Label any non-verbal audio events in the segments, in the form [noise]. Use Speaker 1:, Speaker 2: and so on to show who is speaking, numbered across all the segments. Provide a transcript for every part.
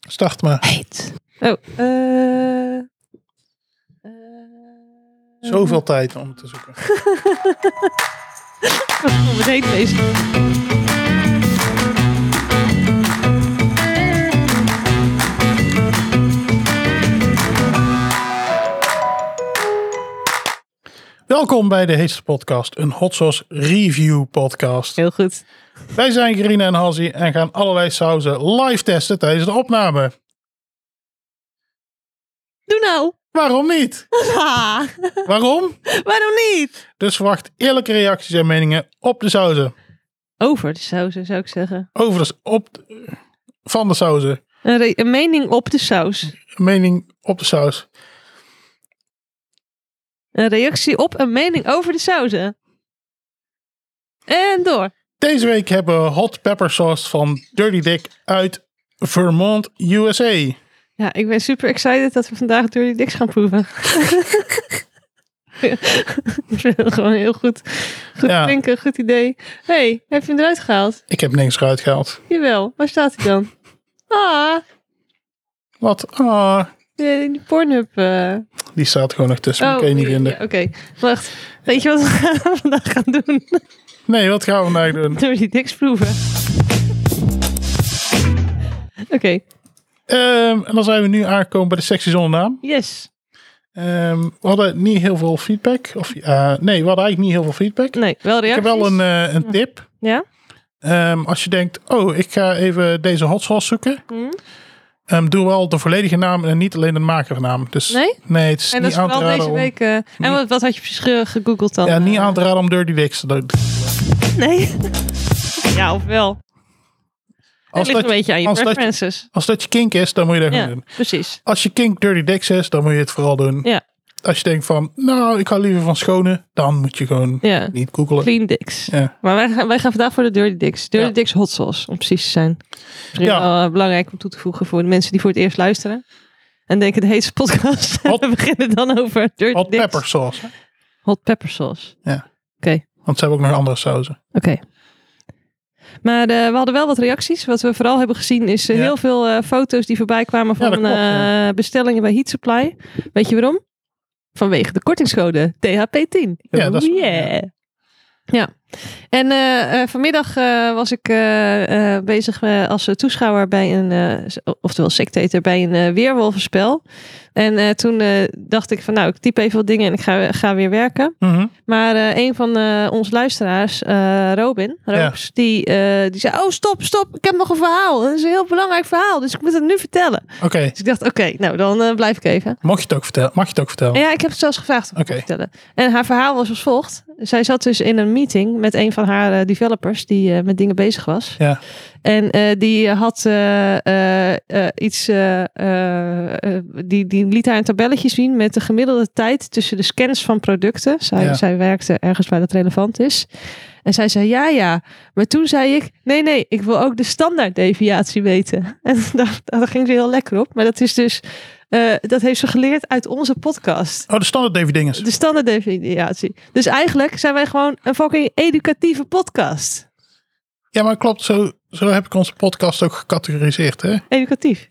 Speaker 1: Start maar.
Speaker 2: Heet. Oh, eh. eh, Mhm.
Speaker 1: Zoveel tijd om het te zoeken.
Speaker 2: Om het oh, heet lezen.
Speaker 1: Welkom bij de Heetste Podcast, een hot sauce review podcast.
Speaker 2: Heel goed.
Speaker 1: Wij zijn Gerine en Hansie en gaan allerlei sauzen live testen tijdens de opname.
Speaker 2: Doe [laughs] nou.
Speaker 1: Waarom niet?
Speaker 2: Ha,
Speaker 1: Waarom?
Speaker 2: waarom niet?
Speaker 1: Dus verwacht eerlijke reacties en meningen op de sauzen.
Speaker 2: Over de sauzen, zou ik zeggen.
Speaker 1: Over de, op de- van de sauzen.
Speaker 2: Een, re- een mening op de saus.
Speaker 1: Een Mening op de saus.
Speaker 2: Een reactie op een mening over de sauzen. En door.
Speaker 1: Deze week hebben we hot pepper sauce van Dirty Dick uit Vermont, USA.
Speaker 2: Ja, ik ben super excited dat we vandaag door die diks gaan [laughs] proeven. ik vind het gewoon heel goed. Goed
Speaker 1: Ja.
Speaker 2: denken, goed idee. hey, heb je hem eruit gehaald?
Speaker 1: Ik heb niks eruit gehaald.
Speaker 2: Jawel, waar staat hij [laughs] dan? Ah,
Speaker 1: Wat? Ah,
Speaker 2: die, die Pornhub. eh.
Speaker 1: die staat gewoon nog tussen.
Speaker 2: Oh,
Speaker 1: kan je niet vinden.
Speaker 2: ja, Oké, wacht. Weet je wat we [laughs] vandaag gaan doen?
Speaker 1: Nee, wat gaan we vandaag doen?
Speaker 2: Door die diks proeven. Oké,
Speaker 1: Ehm, en dan zijn we nu aangekomen bij de sectie zonder naam.
Speaker 2: yes.
Speaker 1: Ehm, we hadden niet heel veel feedback. Of, eh, nee, we hadden eigenlijk niet heel veel feedback.
Speaker 2: Nee, wel
Speaker 1: ik heb
Speaker 2: reacties.
Speaker 1: wel een, eh, een tip.
Speaker 2: Ja?
Speaker 1: Ehm, als je denkt, oh, ik ga even deze hot sauce zoeken.
Speaker 2: Hm?
Speaker 1: Ehm, doe wel de volledige naam en niet alleen de makernaam. Dus
Speaker 2: Nee?
Speaker 1: het is
Speaker 2: En dat
Speaker 1: niet
Speaker 2: is
Speaker 1: aan te
Speaker 2: vooral
Speaker 1: raden
Speaker 2: deze
Speaker 1: om-
Speaker 2: week... eh, en wat, wat had je precies ge- gegoogeld dan?
Speaker 1: Ja, niet
Speaker 2: Eh,
Speaker 1: aan te raden om Dirty Dicks te doen.
Speaker 2: Nee. [laughs] ja, of wel. Het
Speaker 1: Als
Speaker 2: ligt
Speaker 1: dat,
Speaker 2: een beetje aan je
Speaker 1: als dat-
Speaker 2: preferences.
Speaker 1: als dat je kink is, dan moet je dat
Speaker 2: ja,
Speaker 1: gewoon doen.
Speaker 2: precies.
Speaker 1: Als je kink Dirty Dicks is, dan moet je het vooral doen.
Speaker 2: Ja.
Speaker 1: Als je denkt van, nou, ik hou liever van schone, dan moet je gewoon
Speaker 2: Ja.
Speaker 1: niet googelen.
Speaker 2: Clean dicks.
Speaker 1: Ja.
Speaker 2: Maar wij gaan, wij gaan vandaag voor de Dirty Dicks. Dirty
Speaker 1: Ja.
Speaker 2: Dicks hot sauce, om precies te zijn. Misschien
Speaker 1: Ja.
Speaker 2: wel eh, belangrijk om toe te voegen voor de mensen die voor het eerst luisteren. En denken, de heetste podcast.
Speaker 1: Hot-
Speaker 2: [laughs] We beginnen dan over Dirty
Speaker 1: Hot
Speaker 2: Dicks.
Speaker 1: pepper sauce. hè?
Speaker 2: Hot pepper sauce.
Speaker 1: Ja.
Speaker 2: Oké,
Speaker 1: Want ze hebben ook nog andere sauzen.
Speaker 2: oké. Maar eh, we hadden wel wat reacties. Wat we vooral hebben gezien is eh,
Speaker 1: Ja.
Speaker 2: heel veel eh, foto's die voorbij kwamen van
Speaker 1: dat klopt, ja.
Speaker 2: eh, bestellingen bij Heat Supply. Weet je waarom? Vanwege de kortingscode THP10.
Speaker 1: Ja, dat is-
Speaker 2: Oh, yeah. ja. En eh, eh, vanmiddag eh, was ik eh, eh, bezig eh, als eh, toeschouwer bij een, eh, s- oftewel sectator, bij een eh, weerwolvenspel. En eh, toen eh, dacht ik van nou, ik typ even wat dingen en ik ga, ga weer werken.
Speaker 1: Mhm.
Speaker 2: Maar eh, een van eh onze luisteraars, eh, Robin, Robs, die, eh, die zei: Oh, stop, stop, ik heb nog een verhaal. Het is een heel belangrijk verhaal, dus ik moet het nu vertellen.
Speaker 1: Oké,
Speaker 2: Dus ik dacht: Oké, nou dan eh, blijf ik even.
Speaker 1: mag je het ook vertellen? Mag je het ook vertellen?
Speaker 2: En ja, ik heb het zelfs gevraagd om het
Speaker 1: Oh. Oké.
Speaker 2: te vertellen. En haar verhaal was als volgt: Zij zat dus in een meeting met een van haar eh, developers die eh, met dingen bezig was.
Speaker 1: Ja.
Speaker 2: En eh, die had eh, eh, eh, iets, eh, eh, eh, die, die liet haar een tabelletje zien met de gemiddelde tijd tussen de scans van producten. Zij,
Speaker 1: Ja.
Speaker 2: zij werkte ergens waar dat relevant is. En zij zei ja, ja. Maar toen zei ik, nee, nee, ik wil ook de standaarddeviatie weten. [laughs] En daar, daar ging ze heel lekker op. Maar dat is dus, eh, dat heeft ze geleerd uit onze podcast.
Speaker 1: Oh, de standaard David Dinges.
Speaker 2: De standaarddeviatie. Dus eigenlijk zijn wij gewoon een fucking educatieve podcast.
Speaker 1: Ja, maar klopt. Zo, zo heb ik onze podcast ook gecategoriseerd. Hè? Er
Speaker 2: Educatief.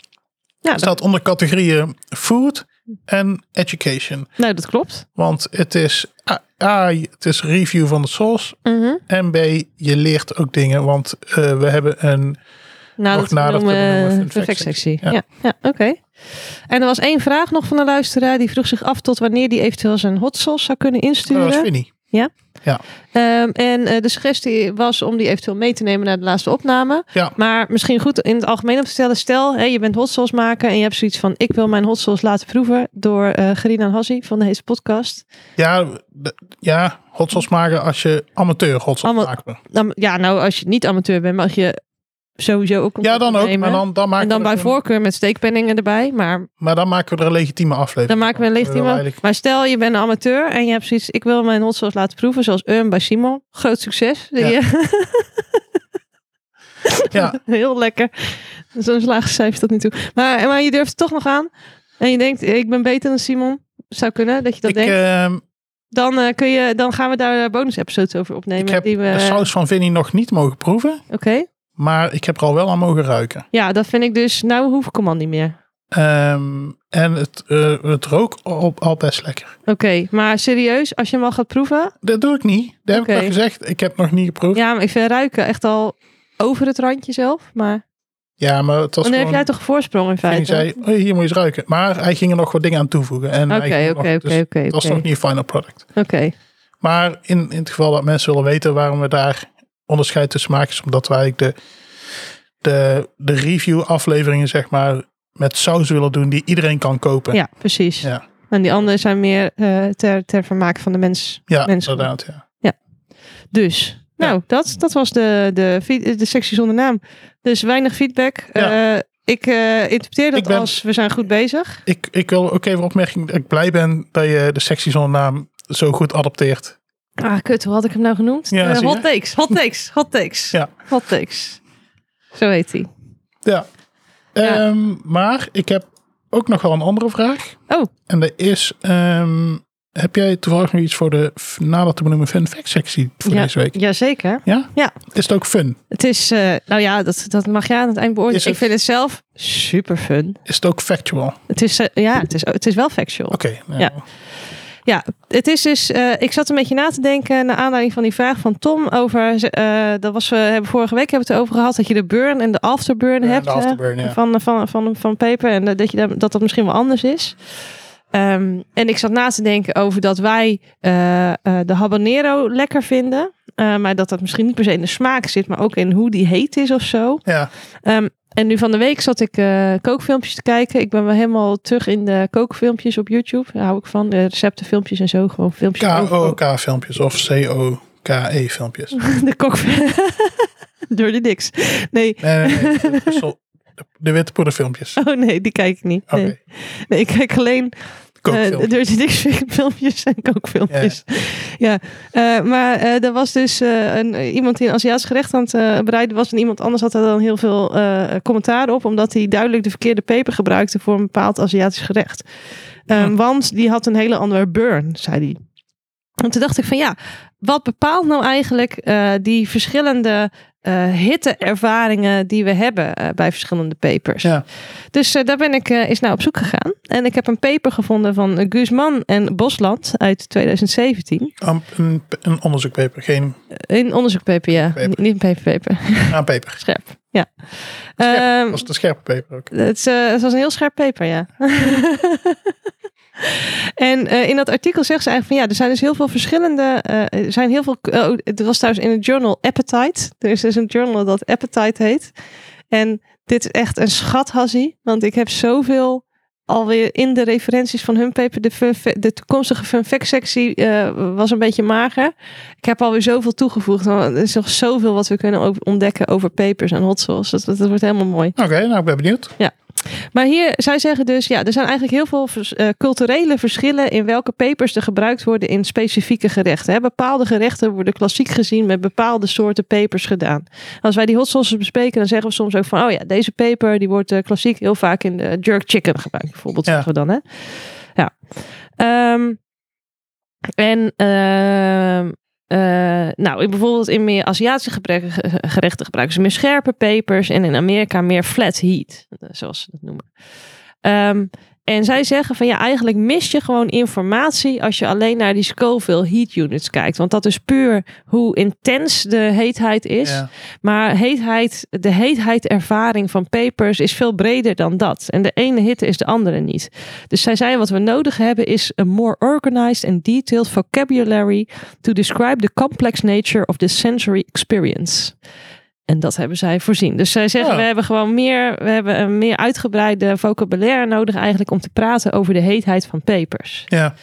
Speaker 2: Ja, dat,
Speaker 1: staat onder categorieën food en education.
Speaker 2: nou, dat klopt.
Speaker 1: Want het is A, A, het is review van de source.
Speaker 2: Mhm.
Speaker 1: En B, je leert ook dingen. Want eh, we hebben een...
Speaker 2: Nadat
Speaker 1: Nog
Speaker 2: we
Speaker 1: nadat we
Speaker 2: noemen,
Speaker 1: benoemen
Speaker 2: eh,
Speaker 1: een
Speaker 2: de
Speaker 1: factsectie.
Speaker 2: factsectie. Ja, ja, oké. En er was één vraag nog van een luisteraar. Die vroeg zich af tot wanneer die eventueel zijn hot sauce zou kunnen
Speaker 1: Oh, Dat was
Speaker 2: insturen.
Speaker 1: Vinnie.
Speaker 2: Ehm, en eh, de suggestie was om die eventueel mee te nemen naar de laatste opname.
Speaker 1: Ja.
Speaker 2: Maar misschien goed in het algemeen op te stellen. Stel, hè, je bent hot sauce maken en je hebt zoiets van... ik wil mijn hot sauce laten proeven door eh Gerina en Hassi van de Heetse Podcast.
Speaker 1: Ja, de- ja hot sauce maken als je amateur hot sauce
Speaker 2: Ama-
Speaker 1: maakt.
Speaker 2: Dan, ja, nou, als je niet amateur bent, mag je sowieso ook
Speaker 1: Ja,
Speaker 2: contact
Speaker 1: dan ook.
Speaker 2: opnemen.
Speaker 1: Maar dan, dan maken
Speaker 2: en dan
Speaker 1: we er
Speaker 2: bij
Speaker 1: een-
Speaker 2: voorkeur met steekpenningen erbij. Maar
Speaker 1: Maar dan maken we er een legitieme aflevering.
Speaker 2: dan maken we een
Speaker 1: van.
Speaker 2: licht
Speaker 1: willen
Speaker 2: iemand.
Speaker 1: eigenlijk-
Speaker 2: Maar stel, je bent een amateur en je hebt zoiets... ik wil mijn hot sauce laten proeven, zoals Urm bij Simon. Groot succes.
Speaker 1: Ja.
Speaker 2: Ja,
Speaker 1: Ja,
Speaker 2: [laughs] Heel lekker. Zo'n laag cijfer tot nu toe. Maar, maar je durft het toch nog aan. En je denkt, ik ben beter dan Simon. Zou kunnen [laughs] dat je dat
Speaker 1: ik,
Speaker 2: denkt.
Speaker 1: ehm,
Speaker 2: Dan, eh, kun je, dan gaan we daar bonus episodes eh, over opnemen.
Speaker 1: ik heb
Speaker 2: die we,
Speaker 1: de saus van Vinnie nog niet mogen proeven.
Speaker 2: Oké.
Speaker 1: Maar ik heb er al wel aan mogen ruiken.
Speaker 2: Ja, dat vind ik dus. Nou, hoef ik hem al niet meer.
Speaker 1: Ehm, en het, eh, het rook al, al best lekker.
Speaker 2: Oké, maar serieus, als je hem al gaat proeven.
Speaker 1: Dat doe ik niet. Dat heb
Speaker 2: Oké.
Speaker 1: ik nog gezegd. Ik heb nog niet geproefd. Ja,
Speaker 2: Ja, maar ik vind ruiken echt al over het randje zelf. Maar
Speaker 1: maar het was
Speaker 2: dan heb
Speaker 1: gewoon...
Speaker 2: jij toch een voorsprong in
Speaker 1: en die
Speaker 2: feite?
Speaker 1: zei, "Hey, hier moet je eens ruiken. Maar hij ging er nog wat dingen aan toevoegen. En hij ging
Speaker 2: Oké,
Speaker 1: nog-
Speaker 2: oké,
Speaker 1: dus
Speaker 2: oké, oké.
Speaker 1: Het was nog
Speaker 2: oké.
Speaker 1: niet final product.
Speaker 2: Oké,
Speaker 1: Maar in, in het geval dat mensen willen weten waarom we daar onderscheid tussen maken, is omdat wij de, de, de review afleveringen, zeg maar, met saus willen doen die iedereen kan kopen.
Speaker 2: ja, precies.
Speaker 1: Ja.
Speaker 2: En die anderen zijn meer eh, ter, ter vermaak van de mens.
Speaker 1: Ja,
Speaker 2: Mensen.
Speaker 1: inderdaad. Ja.
Speaker 2: Dus, nou, dat, dat was de, de, fi- de sectie zonder naam. Dus weinig feedback.
Speaker 1: Ja.
Speaker 2: Eh, ik eh, interpreteer dat
Speaker 1: Ik ben-
Speaker 2: als we zijn goed bezig.
Speaker 1: Ik, ik wil ook even opmerking dat ik blij ben dat je de sectie zonder naam zo goed adopteert.
Speaker 2: Ah, kut, hoe had ik hem nou genoemd?
Speaker 1: Ja,
Speaker 2: Eh,
Speaker 1: zie je.
Speaker 2: hot takes,
Speaker 1: [laughs]
Speaker 2: hot takes, hot takes.
Speaker 1: Ja.
Speaker 2: Hot takes. Zo heet hij.
Speaker 1: Ja.
Speaker 2: Ja.
Speaker 1: Ehm, maar ik heb ook nog wel een andere vraag.
Speaker 2: Oh.
Speaker 1: En dat is, ehm, heb jij toevallig nog iets voor de f- nadat te benoemen fun fact sectie voor deze week?
Speaker 2: Jazeker.
Speaker 1: Is het ook fun?
Speaker 2: Het is, eh, nou ja, dat, dat mag jij aan het eind beoordelen.
Speaker 1: Is het-
Speaker 2: Ik vind het zelf super fun.
Speaker 1: Is het ook factual? Oké.
Speaker 2: Het is, eh, ja, het is, het is wel factual.
Speaker 1: nou,
Speaker 2: Ja. Ja, het is dus. eh, ik zat een beetje na te denken naar aanleiding van die vraag van Tom over. ze- eh, dat was we hebben vorige week hebben we het over gehad dat je de burn en de afterburn
Speaker 1: Ja,
Speaker 2: hebt
Speaker 1: de
Speaker 2: hè,
Speaker 1: afterburn, ja.
Speaker 2: van, van, van, van paper en dat je daar- dat dat misschien wel anders is. Ehm, en ik zat na te denken over dat wij eh, eh, de habanero lekker vinden, Eh, maar dat dat misschien niet per se in de smaak zit, maar ook in hoe die heet is of zo.
Speaker 1: Ja,
Speaker 2: Ehm, en nu van de week zat ik eh, kookfilmpjes te kijken. Ik ben wel helemaal terug in de kookfilmpjes op YouTube. Daar hou ik van. De receptenfilmpjes en zo. Gewoon filmpjes. over koken.
Speaker 1: KOK-filmpjes of COKE-filmpjes. Nee,
Speaker 2: [laughs] De kok. [laughs] Dirty dicks. Nee.
Speaker 1: nee, nee, dat is zo- de- de witte poederfilmpjes. Oké,
Speaker 2: Oh nee, die kijk ik niet. Nee, nee ik kijk alleen
Speaker 1: kookfilmpjes.
Speaker 2: Eh, Dirty Dick filmpjes en kookfilmpjes. Ja, Eh, maar eh, er was dus eh, een, iemand die een Aziatisch gerecht aan het eh, bereiden was. En iemand anders had daar dan heel veel eh, commentaar op. Omdat hij duidelijk de verkeerde peper gebruikte voor een bepaald Aziatisch gerecht. Ehm, Want die had een hele andere burn, zei hij. En toen dacht ik van ja, wat bepaalt nou eigenlijk eh, die verschillende eh hitteervaringen die we hebben eh, bij verschillende pepers?
Speaker 1: Ja.
Speaker 2: Dus eh, daar ben ik eh, eens naar op zoek gegaan. En ik heb een paper gevonden van eh, Guzman en Bosland uit 2017.
Speaker 1: Am- Een, een onderzoekpaper, geen
Speaker 2: Een onderzoekpaper, ja.
Speaker 1: Paper.
Speaker 2: Niet- Niet een paperpaper.
Speaker 1: aanpaper.
Speaker 2: Scherp. Ja.
Speaker 1: Scherp.
Speaker 2: Ehm,
Speaker 1: Dat was de scherpe paper ook.
Speaker 2: het, is, eh, het was een heel scherp paper, ja. [laughs] en eh, in dat artikel zegt ze eigenlijk van ja, er zijn dus heel veel verschillende. eh, er zijn heel veel. eh, oh, het was trouwens in het journal Appetite. Er is dus een journal dat Appetite heet. En dit is echt een schathassie, want ik heb zoveel. Alweer in de referenties van hun paper. De, fun fa- de toekomstige fun fact sectie eh, was een beetje mager. Ik heb alweer zoveel toegevoegd. want Er is nog zoveel wat we kunnen o- ontdekken over papers en hot sauce. Dat, dat, dat wordt helemaal mooi.
Speaker 1: Oké, nou ik ben benieuwd.
Speaker 2: Maar hier, zij zeggen dus, ja, er zijn eigenlijk heel veel vers- eh, culturele verschillen in welke pepers er gebruikt worden in specifieke gerechten. Hè. Bepaalde gerechten worden klassiek gezien met bepaalde soorten pepers gedaan. Als wij die hot sauces bespreken, dan zeggen we soms ook van, oh ja, deze peper die wordt eh, klassiek heel vaak in de jerk chicken gebruikt, bijvoorbeeld,
Speaker 1: Ja.
Speaker 2: zeggen we dan. Hè. Ja. Ehm, en ehm, eh, nou, in bijvoorbeeld in meer Aziatische gebrek- ge- gerechten gebruiken ze meer scherpe pepers en in Amerika meer flat heat, eh, zoals ze dat noemen. Ehm, en zij zeggen van ja, eigenlijk mis je gewoon informatie als je alleen naar die Scoville heat units kijkt. Want dat is puur hoe intens de heetheid is.
Speaker 1: Ja.
Speaker 2: Maar heetheid, de heetheidervaring van pepers is veel breder dan dat. En de ene hitte is de andere niet. Dus zij zei wat we nodig hebben is a more organized and detailed vocabulary to describe the complex nature of this sensory experience. En dat hebben zij voorzien. Dus zij zeggen
Speaker 1: Ja.
Speaker 2: we hebben gewoon meer, we hebben een meer uitgebreide vocabulaire nodig eigenlijk om te praten over de heetheid van pepers.
Speaker 1: ja.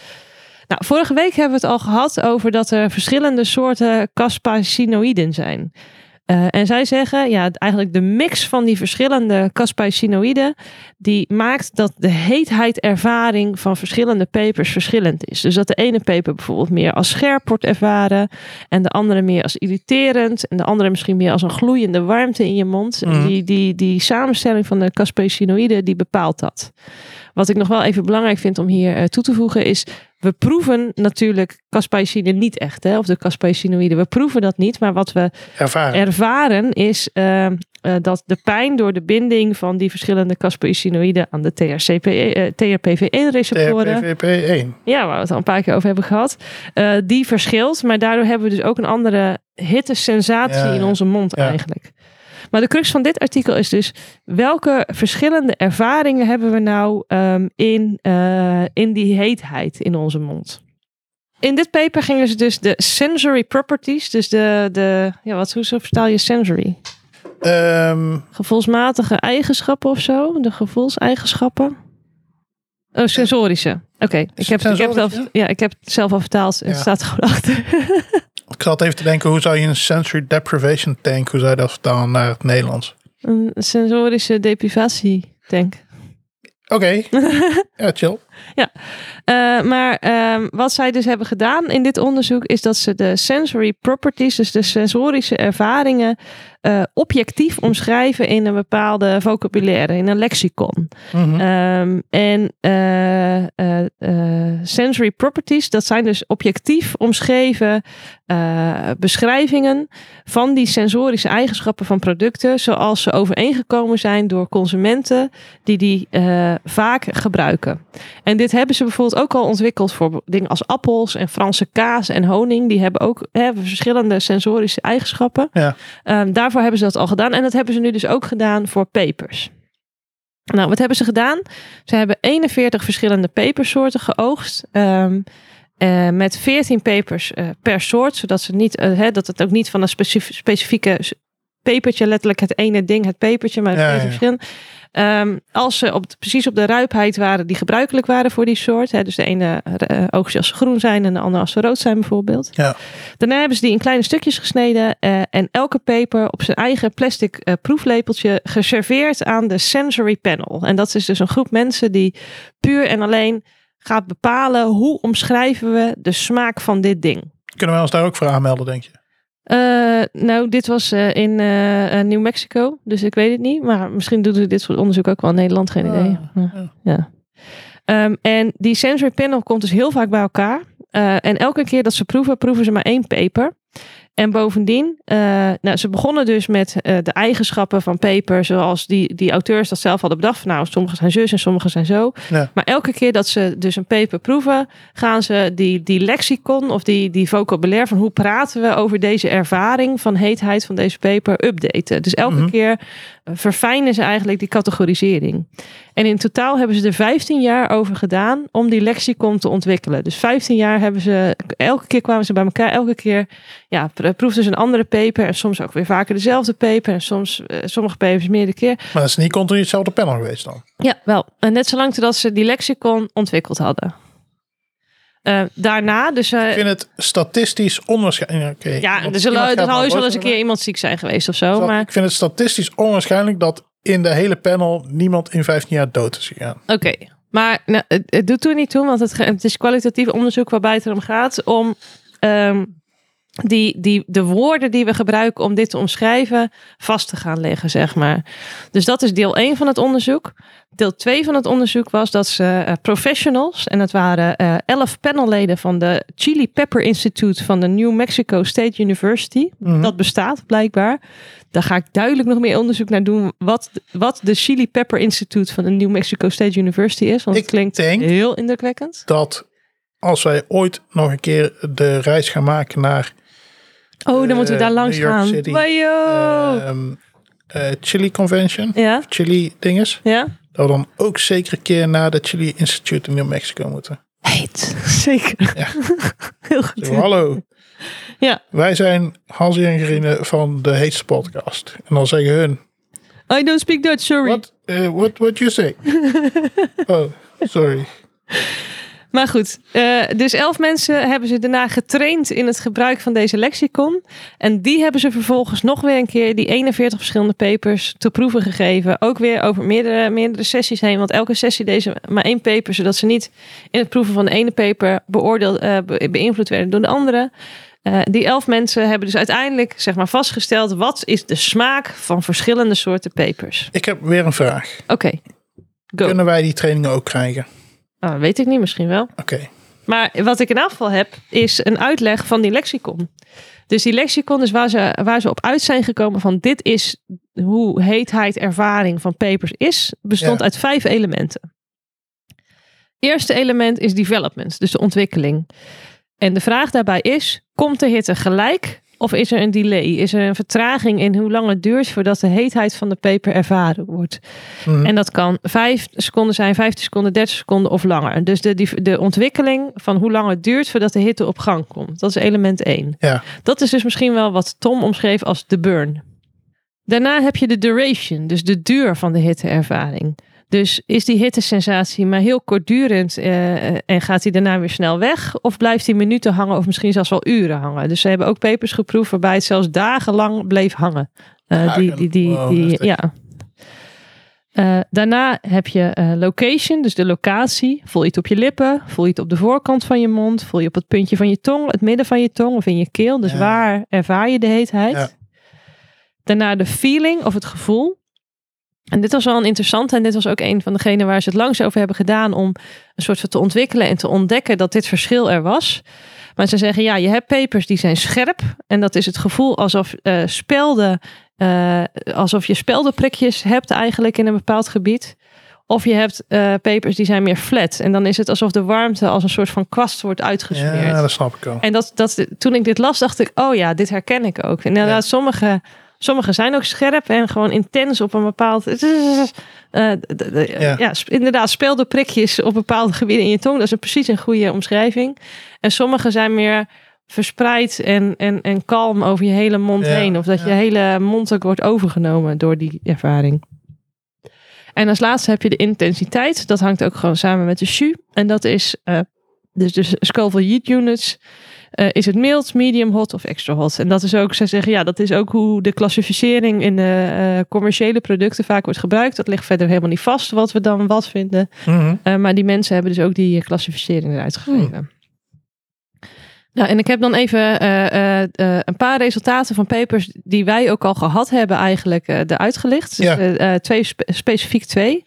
Speaker 2: Nou, vorige week hebben we het al gehad over dat er verschillende soorten caspacinoïden zijn. Eh, en zij zeggen, ja, eigenlijk de mix van die verschillende caspacinoïden, die maakt dat de heetheidervaring van verschillende pepers verschillend is. Dus dat de ene peper bijvoorbeeld meer als scherp wordt ervaren en de andere meer als irriterend en de andere misschien meer als een gloeiende warmte in je mond. En
Speaker 1: Mhm.
Speaker 2: Die, die, die samenstelling van de caspacinoïden, die bepaalt dat. Wat ik nog wel even belangrijk vind om hier eh, toe te voegen is we proeven natuurlijk caspicine niet echt, hè, of de caspicinoïden. We proeven dat niet, maar wat we
Speaker 1: Ervaren.
Speaker 2: ervaren is eh, eh, dat de pijn door de binding van die verschillende caspicinoïden aan de eh, TRPV1-receptoren,
Speaker 1: TRPVP1.
Speaker 2: ja, waar we het al een paar keer over hebben gehad, eh, die verschilt. Maar daardoor hebben we dus ook een andere hittesensatie
Speaker 1: Ja,
Speaker 2: in
Speaker 1: ja.
Speaker 2: onze mond
Speaker 1: Ja.
Speaker 2: eigenlijk. Maar de crux van dit artikel is dus welke verschillende ervaringen hebben we nou ehm, in, eh, in die heetheid in onze mond? In dit paper gingen ze dus de sensory properties, dus de, de ja, wat, hoe zo vertaal je sensory?
Speaker 1: Ehm
Speaker 2: Gevoelsmatige eigenschappen of zo? De gevoelseigenschappen? Oh, sensorische. Oké, ik, heb, ik, heb het al-
Speaker 1: Sensorische?
Speaker 2: ja, ik heb het zelf al vertaald.
Speaker 1: Ja.
Speaker 2: Het staat er gewoon achter. [laughs]
Speaker 1: ik zat even te denken, hoe zou je een sensory deprivation tank, hoe zou je dat vertalen naar het Nederlands?
Speaker 2: Een sensorische deprivatie, denk
Speaker 1: Oké, ja, chill.
Speaker 2: Eh, maar ehm, wat zij dus hebben gedaan in dit onderzoek is dat ze de sensory properties, dus de sensorische ervaringen, eh, objectief omschrijven in een bepaalde vocabulaire, in een lexicon.
Speaker 1: Mhm.
Speaker 2: Ehm, en eh, eh, eh, sensory properties, dat zijn dus objectief omschreven eh, beschrijvingen van die sensorische eigenschappen van producten, zoals ze overeengekomen zijn door consumenten die die eh, vaak gebruiken. En dit hebben ze bijvoorbeeld ook al ontwikkeld voor dingen als appels en Franse kaas en honing. Die hebben ook hè, verschillende sensorische eigenschappen.
Speaker 1: Ja.
Speaker 2: Ehm, daarvoor hebben ze dat al gedaan en dat hebben ze nu dus ook gedaan voor papers. Nou, wat hebben ze gedaan? Ze hebben 41 verschillende pepersoorten geoogst. ehm, eh, met 14 pepers eh, per soort, zodat ze niet, eh, hè, dat het ook niet van een specif- specifieke s- pepertje, letterlijk het ene ding, het pepertje, maar
Speaker 1: Ja,
Speaker 2: 14
Speaker 1: ja, ja.
Speaker 2: verschillende. Ehm, als ze op, de- precies op de ruipheid waren die gebruikelijk waren voor die soort. Hè, dus de ene eh, oogstje als ze groen zijn en de andere als ze rood zijn bijvoorbeeld.
Speaker 1: Ja.
Speaker 2: Daarna hebben ze die in kleine stukjes gesneden eh, en elke peper op zijn eigen plastic eh, proeflepeltje geserveerd aan de sensory panel. En dat is dus een groep mensen die puur en alleen gaat bepalen hoe omschrijven we de smaak van dit ding.
Speaker 1: Kunnen wij ons daar ook voor aanmelden, denk je?
Speaker 2: Eh, nou, dit was eh, in eh, eh, New Mexico, dus ik weet het niet. Maar misschien doen ze dit soort onderzoek ook wel in Nederland, geen
Speaker 1: Ah,
Speaker 2: idee. Ja.
Speaker 1: ja.
Speaker 2: Ja. Ehm, en die sensory panel komt dus heel vaak bij elkaar. Eh, en elke keer dat ze proeven, proeven ze maar één paper. En bovendien, eh, nou, ze begonnen dus met eh, de eigenschappen van paper, zoals die, die auteurs dat zelf hadden bedacht. Van, nou, sommige zijn zus en sommige zijn zo.
Speaker 1: Ja.
Speaker 2: Maar elke keer dat ze dus een paper proeven, gaan ze die, die lexicon of die, die vocabulaire van hoe praten we over deze ervaring van heetheid van deze paper updaten. Dus elke
Speaker 1: Mhm.
Speaker 2: keer eh, verfijnen ze eigenlijk die categorisering. En in totaal hebben ze er 15 jaar over gedaan om die lexicon te ontwikkelen. Dus 15 jaar hebben ze, elke keer kwamen ze bij elkaar, elke keer ja, pro- proefden ze dus een andere paper en soms ook weer vaker dezelfde paper en soms eh, sommige papers meerdere keer.
Speaker 1: Maar dat is niet continu hetzelfde panel geweest dan.
Speaker 2: Ja, wel. En net zolang totdat ze die lexicon ontwikkeld hadden. Eh, daarna, dus... eh,
Speaker 1: Ik vind het statistisch onwaarschijnlijk. Oké,
Speaker 2: ja,
Speaker 1: iemand-
Speaker 2: er zal,
Speaker 1: iemand
Speaker 2: er
Speaker 1: gaat
Speaker 2: zal
Speaker 1: naar
Speaker 2: ooit wel eens
Speaker 1: boven,
Speaker 2: een keer iemand ziek zijn geweest of zo.
Speaker 1: maar-
Speaker 2: Maar
Speaker 1: Ik vind het statistisch onwaarschijnlijk dat in de hele panel niemand in 15 jaar dood is gegaan.
Speaker 2: oké. Maar nou, het, het doet toen niet toe, want het, ge- het is kwalitatief onderzoek waarbij het erom gaat om ehm, die, die, de woorden die we gebruiken om dit te omschrijven vast te gaan leggen, zeg maar. Dus dat is deel 1 van het onderzoek. Deel 2 van het onderzoek was dat ze eh, professionals, en dat waren eh, 11 panelleden van de Chili Pepper Institute van de New Mexico State University.
Speaker 1: Mhm.
Speaker 2: Dat bestaat blijkbaar. Daar ga ik duidelijk nog meer onderzoek naar doen wat, wat de Chili Pepper Institute van de New Mexico State University is. Want
Speaker 1: Ik
Speaker 2: het klinkt
Speaker 1: denk-
Speaker 2: heel indrukwekkend.
Speaker 1: Dat als wij ooit nog een keer de reis gaan maken naar
Speaker 2: Oh, dan moeten we
Speaker 1: Eh,
Speaker 2: daar langs
Speaker 1: New York
Speaker 2: gaan.
Speaker 1: City.
Speaker 2: Wajo!
Speaker 1: ehm, eh, Chili Convention,
Speaker 2: ja,
Speaker 1: Chili dinges,
Speaker 2: ja.
Speaker 1: dat we dan ook zeker een keer naar de Chili Institute in New Mexico
Speaker 2: [laughs]
Speaker 1: moeten.
Speaker 2: Heet. Zeker.
Speaker 1: Ja.
Speaker 2: [laughs] heel goed.
Speaker 1: Zo, hallo.
Speaker 2: Ja.
Speaker 1: Wij zijn Hansi en Gerine van de heetste podcast. En dan zeggen hun,
Speaker 2: I don't speak Dutch, sorry.
Speaker 1: what, eh, what, what you
Speaker 2: [laughs]
Speaker 1: say? oh, sorry.
Speaker 2: Maar goed, eh, dus elf mensen hebben ze daarna getraind in het gebruik van deze lexicon. En die hebben ze vervolgens nog weer een keer die 41 verschillende papers te proeven gegeven. Ook weer over meerdere, meerdere sessies heen. Want elke sessie deze maar één paper, zodat ze niet in het proeven van de ene paper beoordeeld, eh, be- beïnvloed werden door de andere. Eh, die elf mensen hebben dus uiteindelijk zeg maar, vastgesteld wat is de smaak van verschillende soorten papers.
Speaker 1: Ik heb weer een vraag.
Speaker 2: Oké, go.
Speaker 1: Kunnen wij die trainingen ook krijgen?
Speaker 2: Ah, weet ik niet, misschien wel.
Speaker 1: Oké.
Speaker 2: Maar wat ik in afval heb, is een uitleg van die lexicon. Dus die lexicon is waar ze, waar ze op uit zijn gekomen van dit is hoe heetheid ervaring van papers is. Bestond
Speaker 1: Ja.
Speaker 2: uit vijf elementen. Eerste element is development, dus de ontwikkeling. En de vraag daarbij is, komt de hitte gelijk of is er een delay? Is er een vertraging in hoe lang het duurt voordat de heetheid van de peper ervaren wordt?
Speaker 1: Mhm.
Speaker 2: En dat kan 5 seconden zijn, 15 seconden, 30 seconden of langer. Dus de, die, de ontwikkeling van hoe lang het duurt voordat de hitte op gang komt. Dat is element 1.
Speaker 1: Ja.
Speaker 2: Dat is dus misschien wel wat Tom omschreef als de burn. Daarna heb je de duration, dus de duur van de hitteervaring. Dus is die hittesensatie maar heel kortdurend eh, en gaat die daarna weer snel weg? Of blijft die minuten hangen of misschien zelfs wel uren hangen? Dus ze hebben ook papers geproefd waarbij het zelfs dagenlang bleef hangen. Eh,
Speaker 1: Dagen.
Speaker 2: die, die, die,
Speaker 1: Wow,
Speaker 2: die-
Speaker 1: heftig.
Speaker 2: ja. Eh, daarna heb je eh, location, dus de locatie. Voel je het op je lippen? Voel je het op de voorkant van je mond? Voel je het op het puntje van je tong, het midden van je tong of in je keel? Dus
Speaker 1: Ja.
Speaker 2: waar ervaar je de heetheid?
Speaker 1: Ja.
Speaker 2: Daarna de feeling of het gevoel. En dit was wel een interessante en dit was ook een van degenen waar ze het langs over hebben gedaan om een soort van te ontwikkelen en te ontdekken dat dit verschil er was. Maar ze zeggen ja, je hebt papers die zijn scherp en dat is het gevoel alsof eh, spelden, eh, alsof je speldenprikjes hebt eigenlijk in een bepaald gebied. Of je hebt eh, papers die zijn meer flat en dan is het alsof de warmte als een soort van kwast wordt uitgesmeerd.
Speaker 1: Ja, dat snap ik wel.
Speaker 2: En dat, dat, toen ik dit las, dacht ik, oh ja, dit herken ik ook. Inderdaad,
Speaker 1: Ja.
Speaker 2: sommige, sommige zijn ook scherp en gewoon intens op een bepaald... Eh, d- d- d-
Speaker 1: Ja.
Speaker 2: ja. sp- inderdaad, speelde prikjes op bepaalde gebieden in je tong. Dat is een, precies een goede omschrijving. En sommige zijn meer verspreid en, en, en kalm over je hele mond
Speaker 1: Ja,
Speaker 2: heen. Of dat je
Speaker 1: ja.
Speaker 2: hele mond ook wordt overgenomen door die ervaring. En als laatste heb je de intensiteit. Dat hangt ook gewoon samen met de SHU. En dat is eh, dus, dus Scoville Heat Units. Eh, is het mild, medium hot of extra hot? En dat is ook, zij zeggen, ja, dat is ook hoe de klassificering in de eh, commerciële producten vaak wordt gebruikt. Dat ligt verder helemaal niet vast wat we dan wat vinden.
Speaker 1: Mhm.
Speaker 2: Eh, maar die mensen hebben dus ook die eh, klassificering eruit gegeven. Nou, en ik heb dan even eh, eh, eh, een paar resultaten van papers die wij ook al gehad hebben eigenlijk eh eruit gelicht. Dus,
Speaker 1: Ja.
Speaker 2: eh, eh, twee spe- specifiek twee.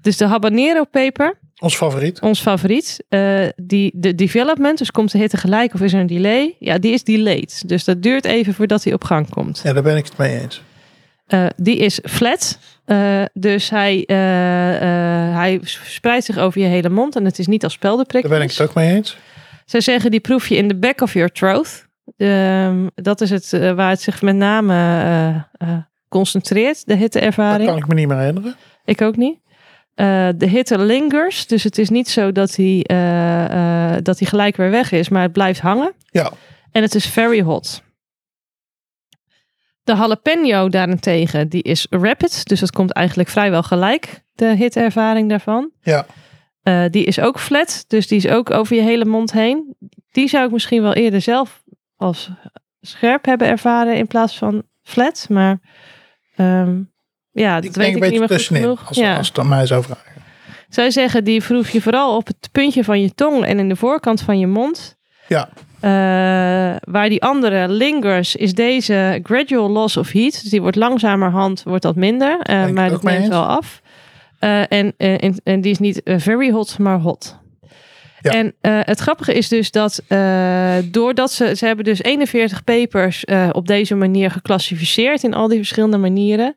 Speaker 2: Dus de habanero paper,
Speaker 1: Ons favoriet.
Speaker 2: ons favoriet. eh, die, de development, dus komt de hitte gelijk of is er een delay? Ja, die is delayed. Dus dat duurt even voordat hij op gang komt.
Speaker 1: Ja, daar ben ik het mee eens.
Speaker 2: Eh, die is flat. Eh, dus hij, eh, eh, hij spreidt zich over je hele mond. En het is niet als
Speaker 1: Daar ben ik
Speaker 2: speldenprikjes.
Speaker 1: het ook mee eens.
Speaker 2: Zij zeggen die proef je in the back of your throat. Ehm, dat is het eh, waar het zich met name eh, eh, concentreert, de
Speaker 1: Dat
Speaker 2: hitteervaring.
Speaker 1: kan ik me niet meer herinneren.
Speaker 2: Ik ook niet. Eh, de hitte lingers. Dus het is niet zo dat hij, eh, eh, dat hij gelijk weer weg is. Maar het blijft hangen.
Speaker 1: Ja,
Speaker 2: En het is very hot. De jalapeno daarentegen, die is rapid. Dus dat komt eigenlijk vrijwel gelijk, de hitervaring daarvan.
Speaker 1: ja.
Speaker 2: Eh, die is ook flat, dus die is ook over je hele mond heen. Die zou ik misschien wel eerder zelf als scherp hebben ervaren in plaats van flat. Maar ehm, ja, dat
Speaker 1: Ik
Speaker 2: weet
Speaker 1: denk
Speaker 2: ik
Speaker 1: een beetje
Speaker 2: niet meer goed
Speaker 1: tussenin.
Speaker 2: genoeg.
Speaker 1: Als,
Speaker 2: ja.
Speaker 1: als het aan mij zou vragen.
Speaker 2: Zij zeggen, die proef je vooral op het puntje van je tong en in de voorkant van je mond.
Speaker 1: Ja.
Speaker 2: Eh, waar die andere lingers, is deze gradual loss of heat. Dus die wordt langzamerhand wordt dat minder, eh,
Speaker 1: ik
Speaker 2: maar
Speaker 1: ook
Speaker 2: dat
Speaker 1: mee
Speaker 2: neemt
Speaker 1: eens.
Speaker 2: wel af. Eh, en, eh, en, en die is niet eh, very hot, maar hot.
Speaker 1: Ja.
Speaker 2: En eh, het grappige is dus dat eh, doordat ze, ze hebben dus 41 papers eh, op deze manier geclassificeerd in al die verschillende manieren.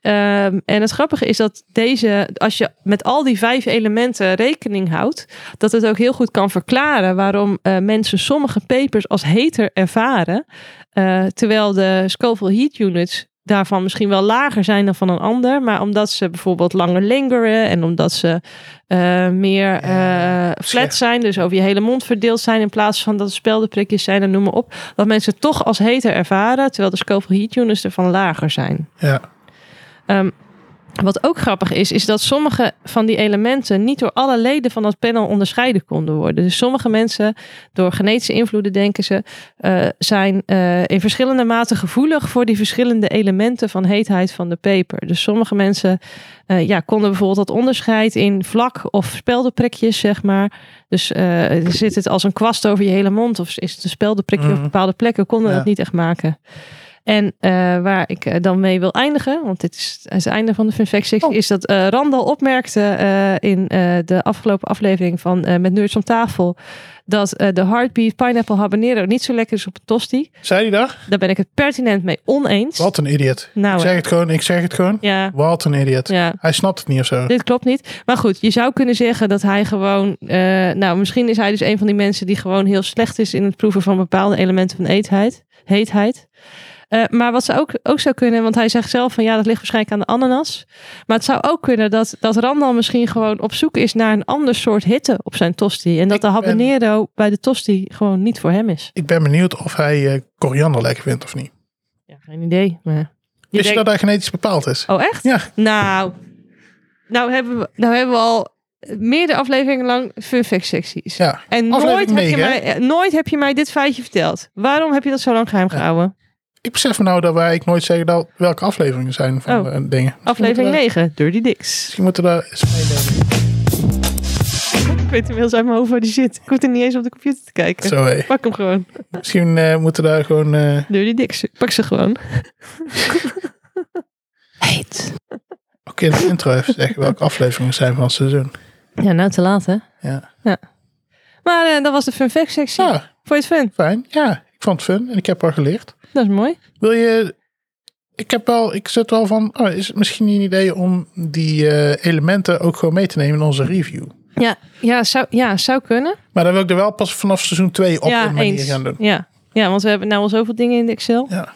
Speaker 2: Ehm, en het grappige is dat deze, als je met al die vijf elementen rekening houdt, dat het ook heel goed kan verklaren waarom eh, mensen sommige papers als heter ervaren, eh, terwijl de Scoville Heat Units daarvan misschien wel lager zijn dan van een ander, maar omdat ze bijvoorbeeld langer lingeren en omdat ze eh, meer eh,
Speaker 1: scherp.
Speaker 2: flat zijn, dus over je hele mond verdeeld zijn in plaats van dat het speldenprikjes zijn en noem maar op, dat mensen het toch als heter ervaren, terwijl de Scoville Heat Units ervan lager zijn.
Speaker 1: Ja,
Speaker 2: Ehm, wat ook grappig is, is dat sommige van die elementen niet door alle leden van dat panel onderscheiden konden worden. Dus sommige mensen, door genetische invloeden denken ze, eh, zijn eh, in verschillende mate gevoelig voor die verschillende elementen van heetheid van de peper. Dus sommige mensen eh, ja, konden bijvoorbeeld dat onderscheid in vlak of speldenprikjes, zeg maar. Dus eh, zit het als een kwast over je hele mond of is het een speldenprikje
Speaker 1: Mhm.
Speaker 2: op bepaalde plekken, konden
Speaker 1: Ja.
Speaker 2: dat niet echt maken. En eh, waar ik eh, dan mee wil eindigen, want dit is het einde van de Fun Fact Six,
Speaker 1: Oh.
Speaker 2: is dat eh, Randall opmerkte eh, in eh, de afgelopen aflevering van eh, Met Nerds om tafel, dat eh, de Heartbeat Pineapple Habanero niet zo lekker is op een tosti.
Speaker 1: Zei hij daar?
Speaker 2: Daar ben ik het pertinent mee oneens.
Speaker 1: Wat een idiot.
Speaker 2: Nou,
Speaker 1: Ik zeg het gewoon, ik zeg het gewoon.
Speaker 2: ja,
Speaker 1: Wat een idiot.
Speaker 2: ja.
Speaker 1: Hij snapt het niet of zo.
Speaker 2: Dit klopt niet. Maar goed, je zou kunnen zeggen dat hij gewoon. eh, nou, misschien is hij dus een van die mensen die gewoon heel slecht is in het proeven van bepaalde elementen van eetheid, heetheid. Eh, maar wat zou ook, ook zou kunnen, want hij zegt zelf van ja, dat ligt waarschijnlijk aan de ananas. Maar het zou ook kunnen dat, dat Randal misschien gewoon op zoek is naar een ander soort hitte op zijn tosti. En dat
Speaker 1: Ik
Speaker 2: de
Speaker 1: ben-
Speaker 2: habanero bij de tosti gewoon niet voor hem is.
Speaker 1: Ik ben benieuwd of hij eh, koriander lekker vindt of niet.
Speaker 2: Ja, geen idee. Maar je
Speaker 1: Wist je
Speaker 2: denkt-
Speaker 1: dat hij genetisch bepaald is?
Speaker 2: Oh, echt?
Speaker 1: Ja.
Speaker 2: Nou, nou hebben we, nou hebben we al meerdere afleveringen lang fun fact secties.
Speaker 1: Ja.
Speaker 2: En nooit
Speaker 1: Aflevering
Speaker 2: heb, je
Speaker 1: negen,
Speaker 2: mij, eh, nooit heb je mij dit feitje verteld. Waarom heb je dat zo lang geheim gehouden?
Speaker 1: Ik besef me nou dat wij ik nooit zeggen dat welke afleveringen zijn van
Speaker 2: Oh.
Speaker 1: eh, dingen.
Speaker 2: Aflevering 9, Dirty Dicks.
Speaker 1: Misschien moeten we daar eens mee denken.
Speaker 2: Ik weet inmiddels uit mijn hoofd waar die zit. Ik hoef er niet eens op de computer te kijken.
Speaker 1: Zo, hé.
Speaker 2: Pak hem gewoon.
Speaker 1: Misschien eh, moeten we daar gewoon... eh,
Speaker 2: Dirty Dicks. Ik Pak ze
Speaker 1: [laughs]
Speaker 2: gewoon. Heet.
Speaker 1: ook in de intro even zeggen
Speaker 2: [laughs]
Speaker 1: welke afleveringen zijn van het seizoen.
Speaker 2: Ja, nou te laat hè.
Speaker 1: Ja. Ah.
Speaker 2: Maar eh, dat was de fun fact sectie.
Speaker 1: ja,
Speaker 2: Vond je het fun?
Speaker 1: fijn. Ja, ik vond het fun en ik heb wel geleerd.
Speaker 2: Dat is mooi.
Speaker 1: Wil je... Ik heb wel... Ik zit wel van... Oh, is het misschien niet een idee om die eh, elementen ook gewoon mee te nemen in onze review?
Speaker 2: Ja, ja, zou, ja zou kunnen.
Speaker 1: Maar dan wil ik er wel pas vanaf seizoen 2 op een manier gaan doen.
Speaker 2: Ja. ja, want we hebben nou al zoveel dingen in de Excel.
Speaker 1: Ja.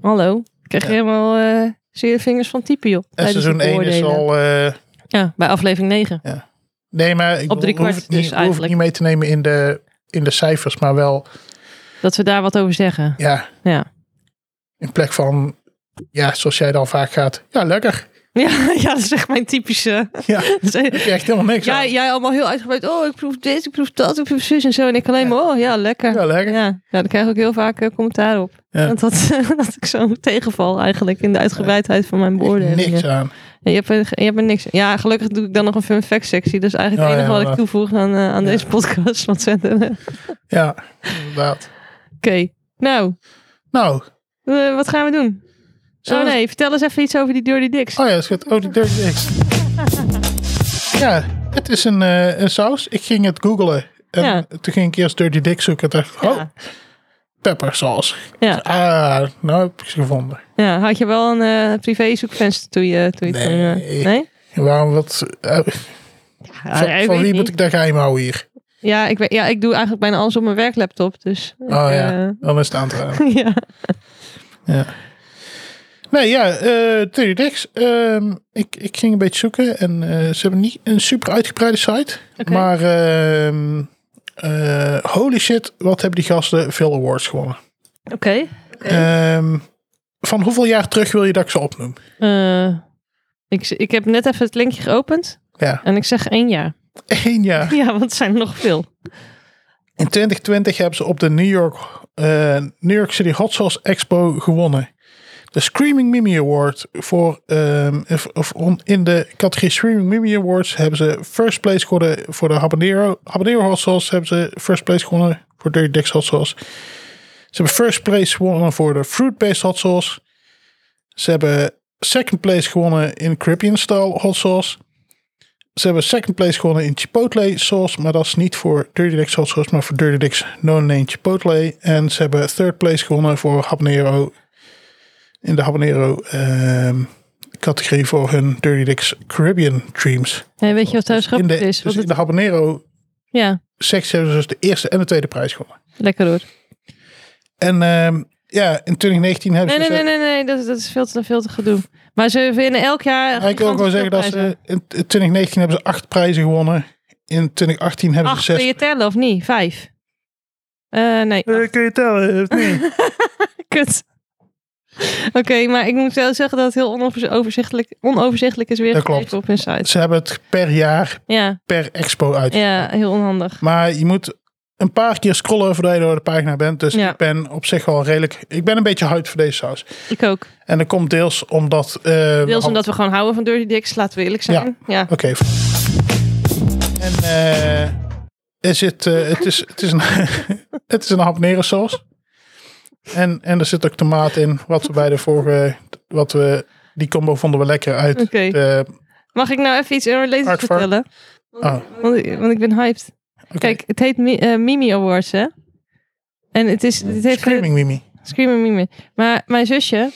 Speaker 2: Hallo. Ik krijg je
Speaker 1: Ja.
Speaker 2: helemaal eh zere vingers van typen, joh.
Speaker 1: En
Speaker 2: tijdens
Speaker 1: seizoen
Speaker 2: het
Speaker 1: 1 is
Speaker 2: beoordelen.
Speaker 1: al... eh,
Speaker 2: Ja, bij aflevering 9.
Speaker 1: nee, maar ik
Speaker 2: Op drie
Speaker 1: bedoel, we hoeven
Speaker 2: kwart
Speaker 1: het niet,
Speaker 2: dus
Speaker 1: we hoeven het
Speaker 2: eigenlijk.
Speaker 1: niet mee te nemen in de, in de cijfers, maar wel
Speaker 2: Dat we daar wat over zeggen.
Speaker 1: ja,
Speaker 2: Ja. [laughs]
Speaker 1: in plek van... Ja, zoals jij dan vaak gaat. Ja, lekker.
Speaker 2: Ja, ja dat is echt mijn typische... [laughs]
Speaker 1: Ja, [laughs] daar
Speaker 2: dat is-
Speaker 1: heb je echt helemaal niks aan.
Speaker 2: Jij, jij allemaal heel uitgebreid. Oh, ik proef dit, ik proef dat, ik proef zus en zo. En ik alleen maar, oh ja, lekker.
Speaker 1: Ja, lekker.
Speaker 2: Ja, ja daar krijg ik ook heel vaak eh, commentaar op.
Speaker 1: Ja.
Speaker 2: Want dat, [laughs] dat ik zo tegenval eigenlijk in de uitgebreidheid van mijn
Speaker 1: Echt
Speaker 2: beoordelingen.
Speaker 1: niks aan.
Speaker 2: Ja, Je hebt, er- je hebt er niks. Ja, gelukkig doe ik dan nog een fun fact sectie. Dus eigenlijk
Speaker 1: Oh,
Speaker 2: het
Speaker 1: ja,
Speaker 2: enige wat ik
Speaker 1: maar-
Speaker 2: toevoeg aan, eh, aan
Speaker 1: Ja.
Speaker 2: deze podcast. Want verder. [laughs] eh, Oké.
Speaker 1: Ja, inderdaad.
Speaker 2: Nou,
Speaker 1: Nou,
Speaker 2: eh, wat gaan we doen?
Speaker 1: zullen
Speaker 2: oh
Speaker 1: we-
Speaker 2: nee, vertel eens even iets over die Dirty Dicks.
Speaker 1: Oh ja, het gaat. Oh, die Dirty Dicks.
Speaker 2: [laughs]
Speaker 1: ja, het is een, eh, een saus. Ik ging het googlen. En
Speaker 2: Ja.
Speaker 1: toen ging ik eerst Dirty Dicks zoeken. En dacht, ik, oh,
Speaker 2: Ja.
Speaker 1: peppersaus.
Speaker 2: Ja.
Speaker 1: Ah, nou heb ik ze gevonden.
Speaker 2: ja, had je wel een eh, privé zoekvenster toen je, toen je het toen, eh,
Speaker 1: Nee.
Speaker 2: nee?
Speaker 1: En waarom wat... eh,
Speaker 2: Ja,
Speaker 1: van
Speaker 2: ja,
Speaker 1: van
Speaker 2: Ah, weet
Speaker 1: wie
Speaker 2: niet.
Speaker 1: moet ik daar geheim houden hier?
Speaker 2: Ja, ik, weet, ja, ik doe eigenlijk bijna alles op mijn werklaptop. Dus. ik,
Speaker 1: Oh ja,
Speaker 2: eh,
Speaker 1: dan is het aan te raden.
Speaker 2: [laughs] ja.
Speaker 1: Nee, ja, eh Dirty Dicks. ehm, ik, ik ging een beetje zoeken. En eh, ze hebben niet een super uitgebreide site.
Speaker 2: Oké.
Speaker 1: Maar ehm, eh, holy shit, wat hebben die gasten veel awards gewonnen.
Speaker 2: Oké.
Speaker 1: Ehm, van hoeveel jaar terug wil je dat ik ze opnoem?
Speaker 2: Eh, ik, ik heb net even het linkje geopend.
Speaker 1: Ja, [laughs]
Speaker 2: En ik zeg één jaar. [laughs]
Speaker 1: één jaar.
Speaker 2: Ja, want het zijn er nog veel.
Speaker 1: In 2020 hebben ze op de New York, eh, New York City Hot Sauce Expo gewonnen. De Screaming Mimi Award voor, ehm, of- of on- in de categorie Screaming Mimi Awards hebben ze first place geworden voor de habanero, habanero hot sauce. Hebben ze first place gewonnen voor Dirty Dicks hot sauce. Ze hebben first place gewonnen voor de fruit based hot sauce. Ze hebben second place gewonnen in Caribbean style hot sauce. Ze hebben second place gewonnen in Chipotle sauce, maar dat is niet voor Dirty Dicks hot sauce, maar voor Dirty Dicks no name Chipotle. En ze hebben third place gewonnen voor habanero in de habanero ehm, categorie voor hun Dirty Dicks Caribbean Dreams.
Speaker 2: Hey, weet je wat trouwens
Speaker 1: In
Speaker 2: grappig
Speaker 1: de,
Speaker 2: is?
Speaker 1: dus
Speaker 2: Want
Speaker 1: in
Speaker 2: het,
Speaker 1: de habanero
Speaker 2: ja,
Speaker 1: sectie hebben ze dus de eerste en de tweede prijs gewonnen.
Speaker 2: lekker hoor.
Speaker 1: En ehm, ja, in 2019 hebben
Speaker 2: Nee,
Speaker 1: ze...
Speaker 2: nee,
Speaker 1: dus-
Speaker 2: nee, nee, nee dat, dat is veel te, veel te gedoe. Maar ze winnen elk jaar.
Speaker 1: Ja, ik wil ook wel zeggen dat ze in 2019 hebben ze acht prijzen gewonnen. In 2018 hebben
Speaker 2: Acht,
Speaker 1: ze
Speaker 2: kun
Speaker 1: eh, zes.
Speaker 2: je tellen of niet? Vijf. Eh, nee,
Speaker 1: Eh, kun je tellen? of niet?
Speaker 2: [laughs] kut. Oké, maar ik moet wel zeggen dat het heel onoverz- overzichtelijk- onoverzichtelijk is weer
Speaker 1: Dat
Speaker 2: gegeven
Speaker 1: klopt.
Speaker 2: op hun
Speaker 1: [laughs]
Speaker 2: site.
Speaker 1: ze hebben het per jaar,
Speaker 2: Ja,
Speaker 1: per expo uit.
Speaker 2: ja, heel onhandig.
Speaker 1: Maar je moet een paar keer scrollen voordat je door de pagina bent. Dus
Speaker 2: Ja.
Speaker 1: ik ben op zich wel redelijk... Ik ben een beetje huid voor deze saus.
Speaker 2: Ik ook.
Speaker 1: En dat komt deels omdat... eh, we
Speaker 2: Deels
Speaker 1: hadden-
Speaker 2: omdat we gewoon houden van Dirty Dicks, laten we eerlijk zijn. Ja.
Speaker 1: Oké. En [laughs] eh, er zit, eh, het, is, het, is een, het is een habanero saus. En, en er zit ook tomaat in, wat we bij de vorige, wat we, die combo vonden we lekker uit. Eh,
Speaker 2: Oké.
Speaker 1: de-
Speaker 2: Mag ik nou even iets unrelated
Speaker 1: Artvar.
Speaker 2: vertellen? Want,
Speaker 1: Oh.
Speaker 2: want, want ik ben hyped.
Speaker 1: oké.
Speaker 2: Kijk, het heet Mi- eh, Mimi Awards, hè? En het, is, het heeft...
Speaker 1: Screaming Mimi.
Speaker 2: Screaming Mimi. Maar mijn zusje,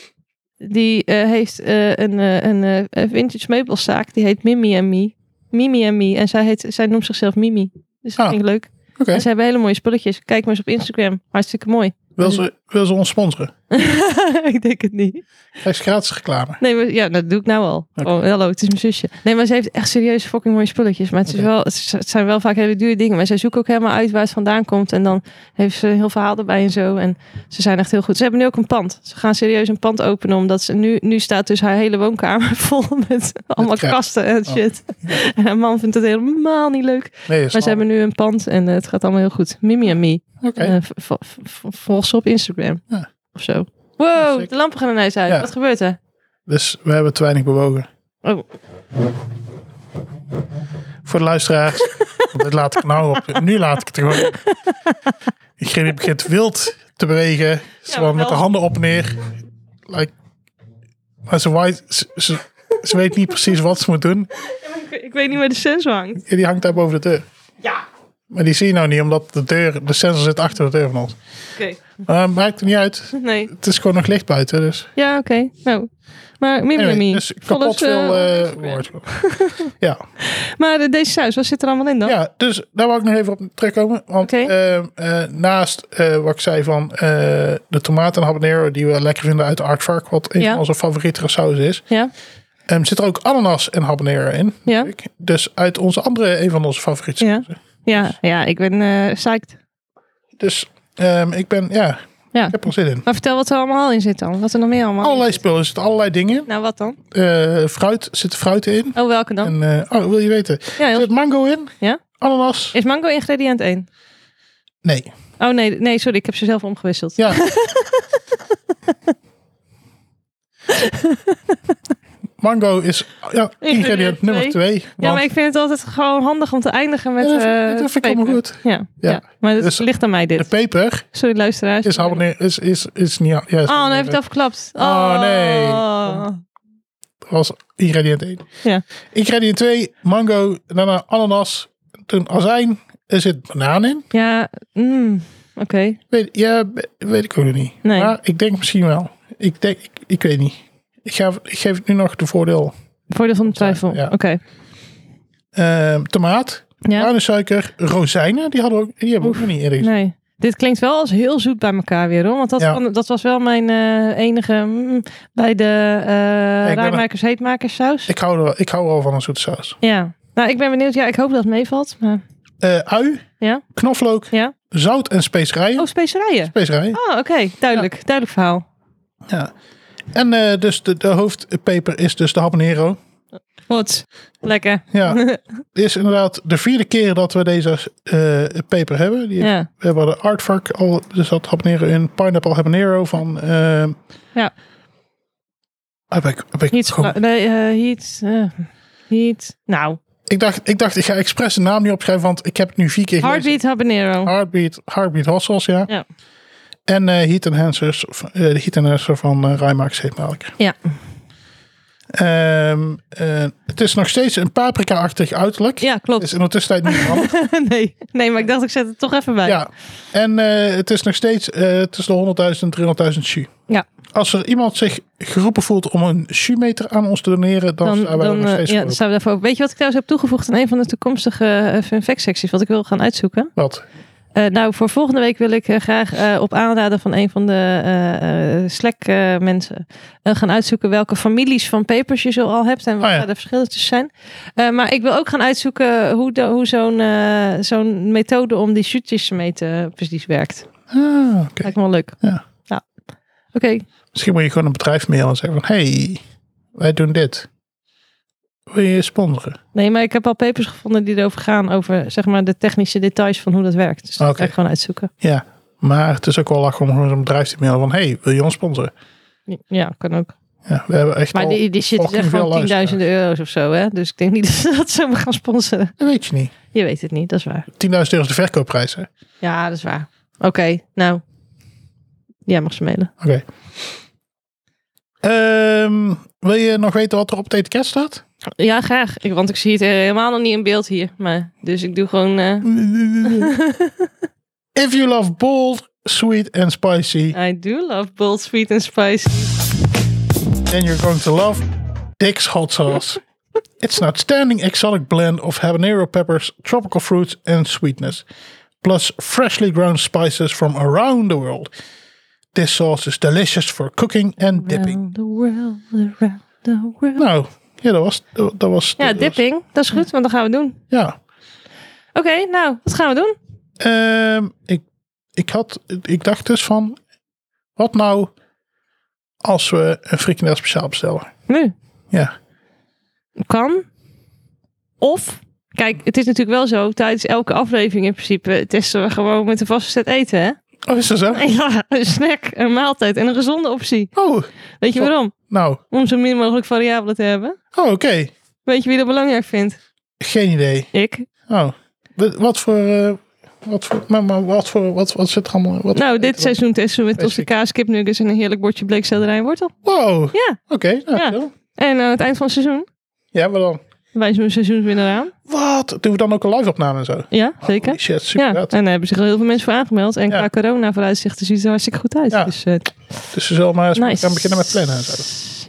Speaker 2: die eh, heeft eh, een, eh, een eh, vintage meubelzaak. Die heet Mimi en Me. Mimi en Me. En zij, heet, zij noemt zichzelf Mimi. Dus dat
Speaker 1: Ah,
Speaker 2: vind ik leuk.
Speaker 1: Oké,
Speaker 2: En ze hebben hele mooie spulletjes. Kijk maar eens op Instagram. Hartstikke mooi.
Speaker 1: wil, ze, wil ze ons sponsoren?
Speaker 2: [laughs] ik denk het niet.
Speaker 1: Hij is gratis reclame.
Speaker 2: Nee, maar, ja, dat doe ik nou al. Oh, hallo, het is mijn zusje. Nee, maar ze heeft echt serieus fucking mooie spulletjes. Maar het, is
Speaker 1: Oké.
Speaker 2: wel, het z- het zijn wel vaak hele dure dingen. Maar zij zoekt ook helemaal uit waar het vandaan komt. En dan heeft ze een heel verhaal erbij en zo. En ze zijn echt heel goed. Ze hebben nu ook een pand. Ze gaan serieus een pand openen. Omdat ze nu, nu staat dus haar hele woonkamer [laughs] vol met allemaal
Speaker 1: crap.
Speaker 2: kasten en
Speaker 1: Oh.
Speaker 2: shit. En haar man vindt het helemaal niet leuk.
Speaker 1: Nee, dat
Speaker 2: Maar
Speaker 1: is
Speaker 2: ze hebben nu een pand en eh, het gaat allemaal heel goed. Mimi en Me.
Speaker 1: Oké,
Speaker 2: Eh, v- v- v- volg ze op Instagram.
Speaker 1: Ja.
Speaker 2: Of zo.
Speaker 1: Ja,
Speaker 2: Wow,
Speaker 1: zeker.
Speaker 2: de lampen gaan ineens uit.
Speaker 1: Ja.
Speaker 2: Wat gebeurt er?
Speaker 1: dus we hebben te weinig bewogen.
Speaker 2: Oh.
Speaker 1: Voor de luisteraars,
Speaker 2: [laughs]
Speaker 1: want dit laat ik nou op. Nu laat ik het er gewoon. op. Diegene begint wild te bewegen. Ze
Speaker 2: maar
Speaker 1: met de
Speaker 2: wel.
Speaker 1: handen op en neer. Like, maar ze, waait- ze, ze, ze weet niet precies wat ze moet doen.
Speaker 2: [laughs] Ik, weet niet waar de sensor hangt.
Speaker 1: Ja, Die hangt daar boven de deur.
Speaker 2: Ja.
Speaker 1: Maar die zie je nou niet, omdat de, deur, de sensor zit achter de deur van ons.
Speaker 2: Oké.
Speaker 1: Maar maakt het niet uit.
Speaker 2: Nee.
Speaker 1: Het is gewoon nog licht buiten. Dus,
Speaker 2: Ja, oké. Nou. Maar Mimi
Speaker 1: Anyway,
Speaker 2: Mimi.
Speaker 1: dus
Speaker 2: Volg
Speaker 1: kapot
Speaker 2: ons, eh,
Speaker 1: veel
Speaker 2: op
Speaker 1: eh,
Speaker 2: [laughs] Instagram.
Speaker 1: woord. ja.
Speaker 2: Maar eh, deze saus, wat zit er allemaal in dan?
Speaker 1: Ja, dus daar wil ik nog even op terugkomen. Want
Speaker 2: Oké.
Speaker 1: eh, eh, naast eh, wat ik zei van eh, de tomaten en habanero die we lekker vinden uit Artvark, wat een
Speaker 2: Ja.
Speaker 1: van onze favoriete saus is,
Speaker 2: Ja.
Speaker 1: eh, zit er ook ananas en habanero in.
Speaker 2: Ja.
Speaker 1: Dus uit onze andere, een van onze favoriete
Speaker 2: Ja.
Speaker 1: sausen.
Speaker 2: Ja, ja ik ben eh psyched.
Speaker 1: Dus ehm, ik ben, ja,
Speaker 2: Ja.
Speaker 1: ik heb er zin in.
Speaker 2: Maar vertel wat er allemaal in zit dan. Wat er nog meer allemaal in
Speaker 1: Allerlei spullen, er zitten allerlei dingen.
Speaker 2: zit. Nou, wat dan?
Speaker 1: Eh, fruit, zit fruit in.
Speaker 2: Oh, welke dan?
Speaker 1: En, eh, oh, wil je weten?
Speaker 2: ja, heel-
Speaker 1: Zit mango in?
Speaker 2: Ja.
Speaker 1: Ananas?
Speaker 2: Is mango ingrediënt 1?
Speaker 1: Nee.
Speaker 2: Oh nee, nee, sorry, ik heb ze zelf omgewisseld.
Speaker 1: Ja. Mango is ja, ingrediënt nummer
Speaker 2: twee.
Speaker 1: twee.
Speaker 2: Ja, maar
Speaker 1: want-
Speaker 2: ik vind het altijd gewoon handig om te eindigen met.
Speaker 1: Ja, dat vind-
Speaker 2: eh,
Speaker 1: dat vind ik allemaal
Speaker 2: peper.
Speaker 1: goed.
Speaker 2: Ja, ja.
Speaker 1: Ja.
Speaker 2: maar het
Speaker 1: Dus-
Speaker 2: ligt aan mij
Speaker 1: de
Speaker 2: dit.
Speaker 1: peper
Speaker 2: Sorry, luisteraars.
Speaker 1: is, abonneer, is, is, is niet... Ja, is
Speaker 2: Oh, nou
Speaker 1: abonneer.
Speaker 2: heb ik het afgeklapt. Oh,
Speaker 1: Oh, nee. was ingrediënt één.
Speaker 2: Ja.
Speaker 1: Ingrediënt twee, mango, daarna ananas, toen azijn. Er zit banaan in.
Speaker 2: Ja, mm, oké.
Speaker 1: Weet, ja, weet ik ook nog niet.
Speaker 2: Nee.
Speaker 1: Maar ik denk misschien wel. Ik, denk, ik, ik weet niet. Ik, ga, ik geef het nu nog de voordeel.
Speaker 2: Voordeel van de twijfel.
Speaker 1: Ja.
Speaker 2: Oké.
Speaker 1: Ehm, tomaat,
Speaker 2: Ja?
Speaker 1: bruine suiker, rozijnen. Die, hadden we ook, die hebben we ook nog Nou, niet eerder gezien.
Speaker 2: Nee. Dit klinkt wel als heel zoet bij elkaar weer, hoor. Want dat,
Speaker 1: Ja.
Speaker 2: van- dat was wel mijn eh, enige mm, bij de eh
Speaker 1: ben
Speaker 2: rijmakers heetmakers saus.
Speaker 1: Ik hou, er, wel- ik hou wel van een zoete saus.
Speaker 2: Ja. Nou, ik ben benieuwd. Ja, ik hoop dat het meevalt. Maar...
Speaker 1: Eh, ui,
Speaker 2: Ja?
Speaker 1: knoflook,
Speaker 2: Ja?
Speaker 1: zout en specerijen.
Speaker 2: Oh, specerijen.
Speaker 1: Specerijen,
Speaker 2: Oh, oké. Duidelijk. Duidelijk verhaal.
Speaker 1: ja. En eh, dus de, de hoofdpeper is dus de habanero.
Speaker 2: Goed. Lekker.
Speaker 1: Ja,
Speaker 2: [laughs]
Speaker 1: dit is inderdaad de vierde keer dat we deze eh, peper hebben. Die
Speaker 2: Ja.
Speaker 1: We hebben de artvark al, dus dat habanero in. Pineapple habanero van... eh,
Speaker 2: Ja.
Speaker 1: heb ik, heb ik,
Speaker 2: Heat.
Speaker 1: gewoon-
Speaker 2: Nee, eh, heat. eh, heat. Nou.
Speaker 1: ik, dacht, ik dacht, ik ga expres de naam niet opschrijven, want ik heb het nu vier keer gelezen.
Speaker 2: Heartbeat habanero.
Speaker 1: Heartbeat, Heartbeat hot sauce, ja.
Speaker 2: Ja.
Speaker 1: En eh Heat Enhancers, of, eh, de Heat Enhancer van eh Rijmax heet melk.
Speaker 2: Ja.
Speaker 1: Ehm, eh, het is nog steeds een paprika-achtig uiterlijk.
Speaker 2: Ja,
Speaker 1: Het
Speaker 2: [laughs] klopt.
Speaker 1: is in de tussentijd niet veranderd.
Speaker 2: nee. nee, maar ik dacht ik zet het toch even bij.
Speaker 1: ja. En eh, het is nog steeds eh, tussen de 100.000 en 300.000 shu.
Speaker 2: Ja.
Speaker 1: Als er iemand zich geroepen voelt om een shu-meter aan ons te doneren, dan,
Speaker 2: Dan,
Speaker 1: zijn wij er
Speaker 2: dan,
Speaker 1: nog
Speaker 2: eh,
Speaker 1: steeds
Speaker 2: ja, dan
Speaker 1: voor.
Speaker 2: staan we daarvoor. Weet je wat ik trouwens heb toegevoegd aan een van de toekomstige eh, fun fact secties, wat ik wil gaan uitzoeken?
Speaker 1: Wat?
Speaker 2: Eh, nou, voor volgende week wil ik eh, graag eh, op aanraden van een van de eh Slack eh, mensen eh, gaan uitzoeken welke families van papers je zo al hebt en wat
Speaker 1: Oh ja.
Speaker 2: daar de verschillen tussen zijn. Eh, maar ik wil ook gaan uitzoeken hoe, de, hoe zo'n, eh, zo'n methode om die shootjes te meten precies werkt.
Speaker 1: Ah, oké.
Speaker 2: Lijkt me wel leuk.
Speaker 1: Ja.
Speaker 2: Oké,
Speaker 1: Misschien moet je gewoon een bedrijf mailen en zeggen van... hey, wij doen dit. Wil je sponsoren?
Speaker 2: Nee, maar ik heb al papers gevonden die erover gaan. Over zeg maar de technische details van hoe dat werkt. Dus dat
Speaker 1: Oké.
Speaker 2: ga ik gewoon uitzoeken.
Speaker 1: Ja, maar het is ook wel lachen om gewoon zo'n bedrijf te mailen van... hey, wil je ons sponsoren?
Speaker 2: Ja, kan ook.
Speaker 1: Ja, we hebben echt
Speaker 2: Maar
Speaker 1: al...
Speaker 2: die, die shit is
Speaker 1: fucking
Speaker 2: echt
Speaker 1: veel
Speaker 2: gewoon
Speaker 1: luisteraars.
Speaker 2: tienduizenden euro's of zo. Hè? Dus ik denk niet [laughs] dat ze dat zomaar gaan sponsoren.
Speaker 1: Dat weet je niet. 10.000
Speaker 2: Je weet het niet, dat is waar.
Speaker 1: euro is de verkoopprijs, hè?
Speaker 2: Ja, dat is waar. Oké, nou. Jij mag ze mailen.
Speaker 1: Oké. Ehm, wil je nog weten wat er op het etiket staat?
Speaker 2: [laughs] Ja, graag. Ik- Want ik zie het eh, helemaal nog niet in beeld hier. Maar, dus ik doe gewoon... eh,
Speaker 1: If you love bold, sweet and spicy,
Speaker 2: I do love bold, sweet and spicy.
Speaker 1: then you're going to love Dick's Hot Sauce. It's an outstanding exotic blend of habanero peppers, tropical fruits and sweetness, plus freshly ground spices from around the world. This sauce is delicious for cooking and dipping.
Speaker 2: Around the world, around the world.
Speaker 1: Nou, ja, dat was... Dat was
Speaker 2: Ja,
Speaker 1: dat was-
Speaker 2: dipping. Dat is goed, want dat gaan we doen.
Speaker 1: Ja.
Speaker 2: Oké, nou, wat gaan we doen?
Speaker 1: Ehm, ik, ik, had, ik dacht dus van, wat nou als we een frikandel speciaal bestellen?
Speaker 2: Nu.
Speaker 1: Ja.
Speaker 2: Kan. Of. Kijk, het is natuurlijk wel zo. Tijdens elke aflevering in principe testen we gewoon met een vaste set eten, hè? [laughs]
Speaker 1: Oh, is dat zo?
Speaker 2: Ja, een snack, een maaltijd en een gezonde optie.
Speaker 1: Oh,
Speaker 2: Weet je
Speaker 1: Zo.
Speaker 2: waarom?
Speaker 1: nou.
Speaker 2: Om zo min mogelijk variabelen te hebben.
Speaker 1: Oh, oké.
Speaker 2: Weet je wie dat belangrijk vindt?
Speaker 1: Geen idee.
Speaker 2: Ik.
Speaker 1: Oh. Wat- Wat voor... eh, wat voor... Maar, maar wat voor... Wat, wat zit er allemaal... Wat,
Speaker 2: Nou, dit seizoen testen we met tosti
Speaker 1: Specifiek.
Speaker 2: kaas, kipnuggets en een heerlijk bordje bleekselderij en wortel.
Speaker 1: Wow. Oké,
Speaker 2: Ja.
Speaker 1: nou.
Speaker 2: Ja.
Speaker 1: chill.
Speaker 2: En aan het eind van het seizoen
Speaker 1: Ja, maar dan...
Speaker 2: wijzen we een seizoenswinnaar aan.
Speaker 1: Wat? Doen we dan ook een live opname en zo?
Speaker 2: Ja, zeker.
Speaker 1: Holy shit, super
Speaker 2: Ja, en
Speaker 1: vet.
Speaker 2: daar hebben zich al heel veel mensen voor aangemeld. En
Speaker 1: Ja.
Speaker 2: qua corona vooruitzichten ziet het er hartstikke goed uit.
Speaker 1: Ja.
Speaker 2: Dus eh,
Speaker 1: Dus we zullen maar eens
Speaker 2: nice.
Speaker 1: gaan beginnen met plannen en zo.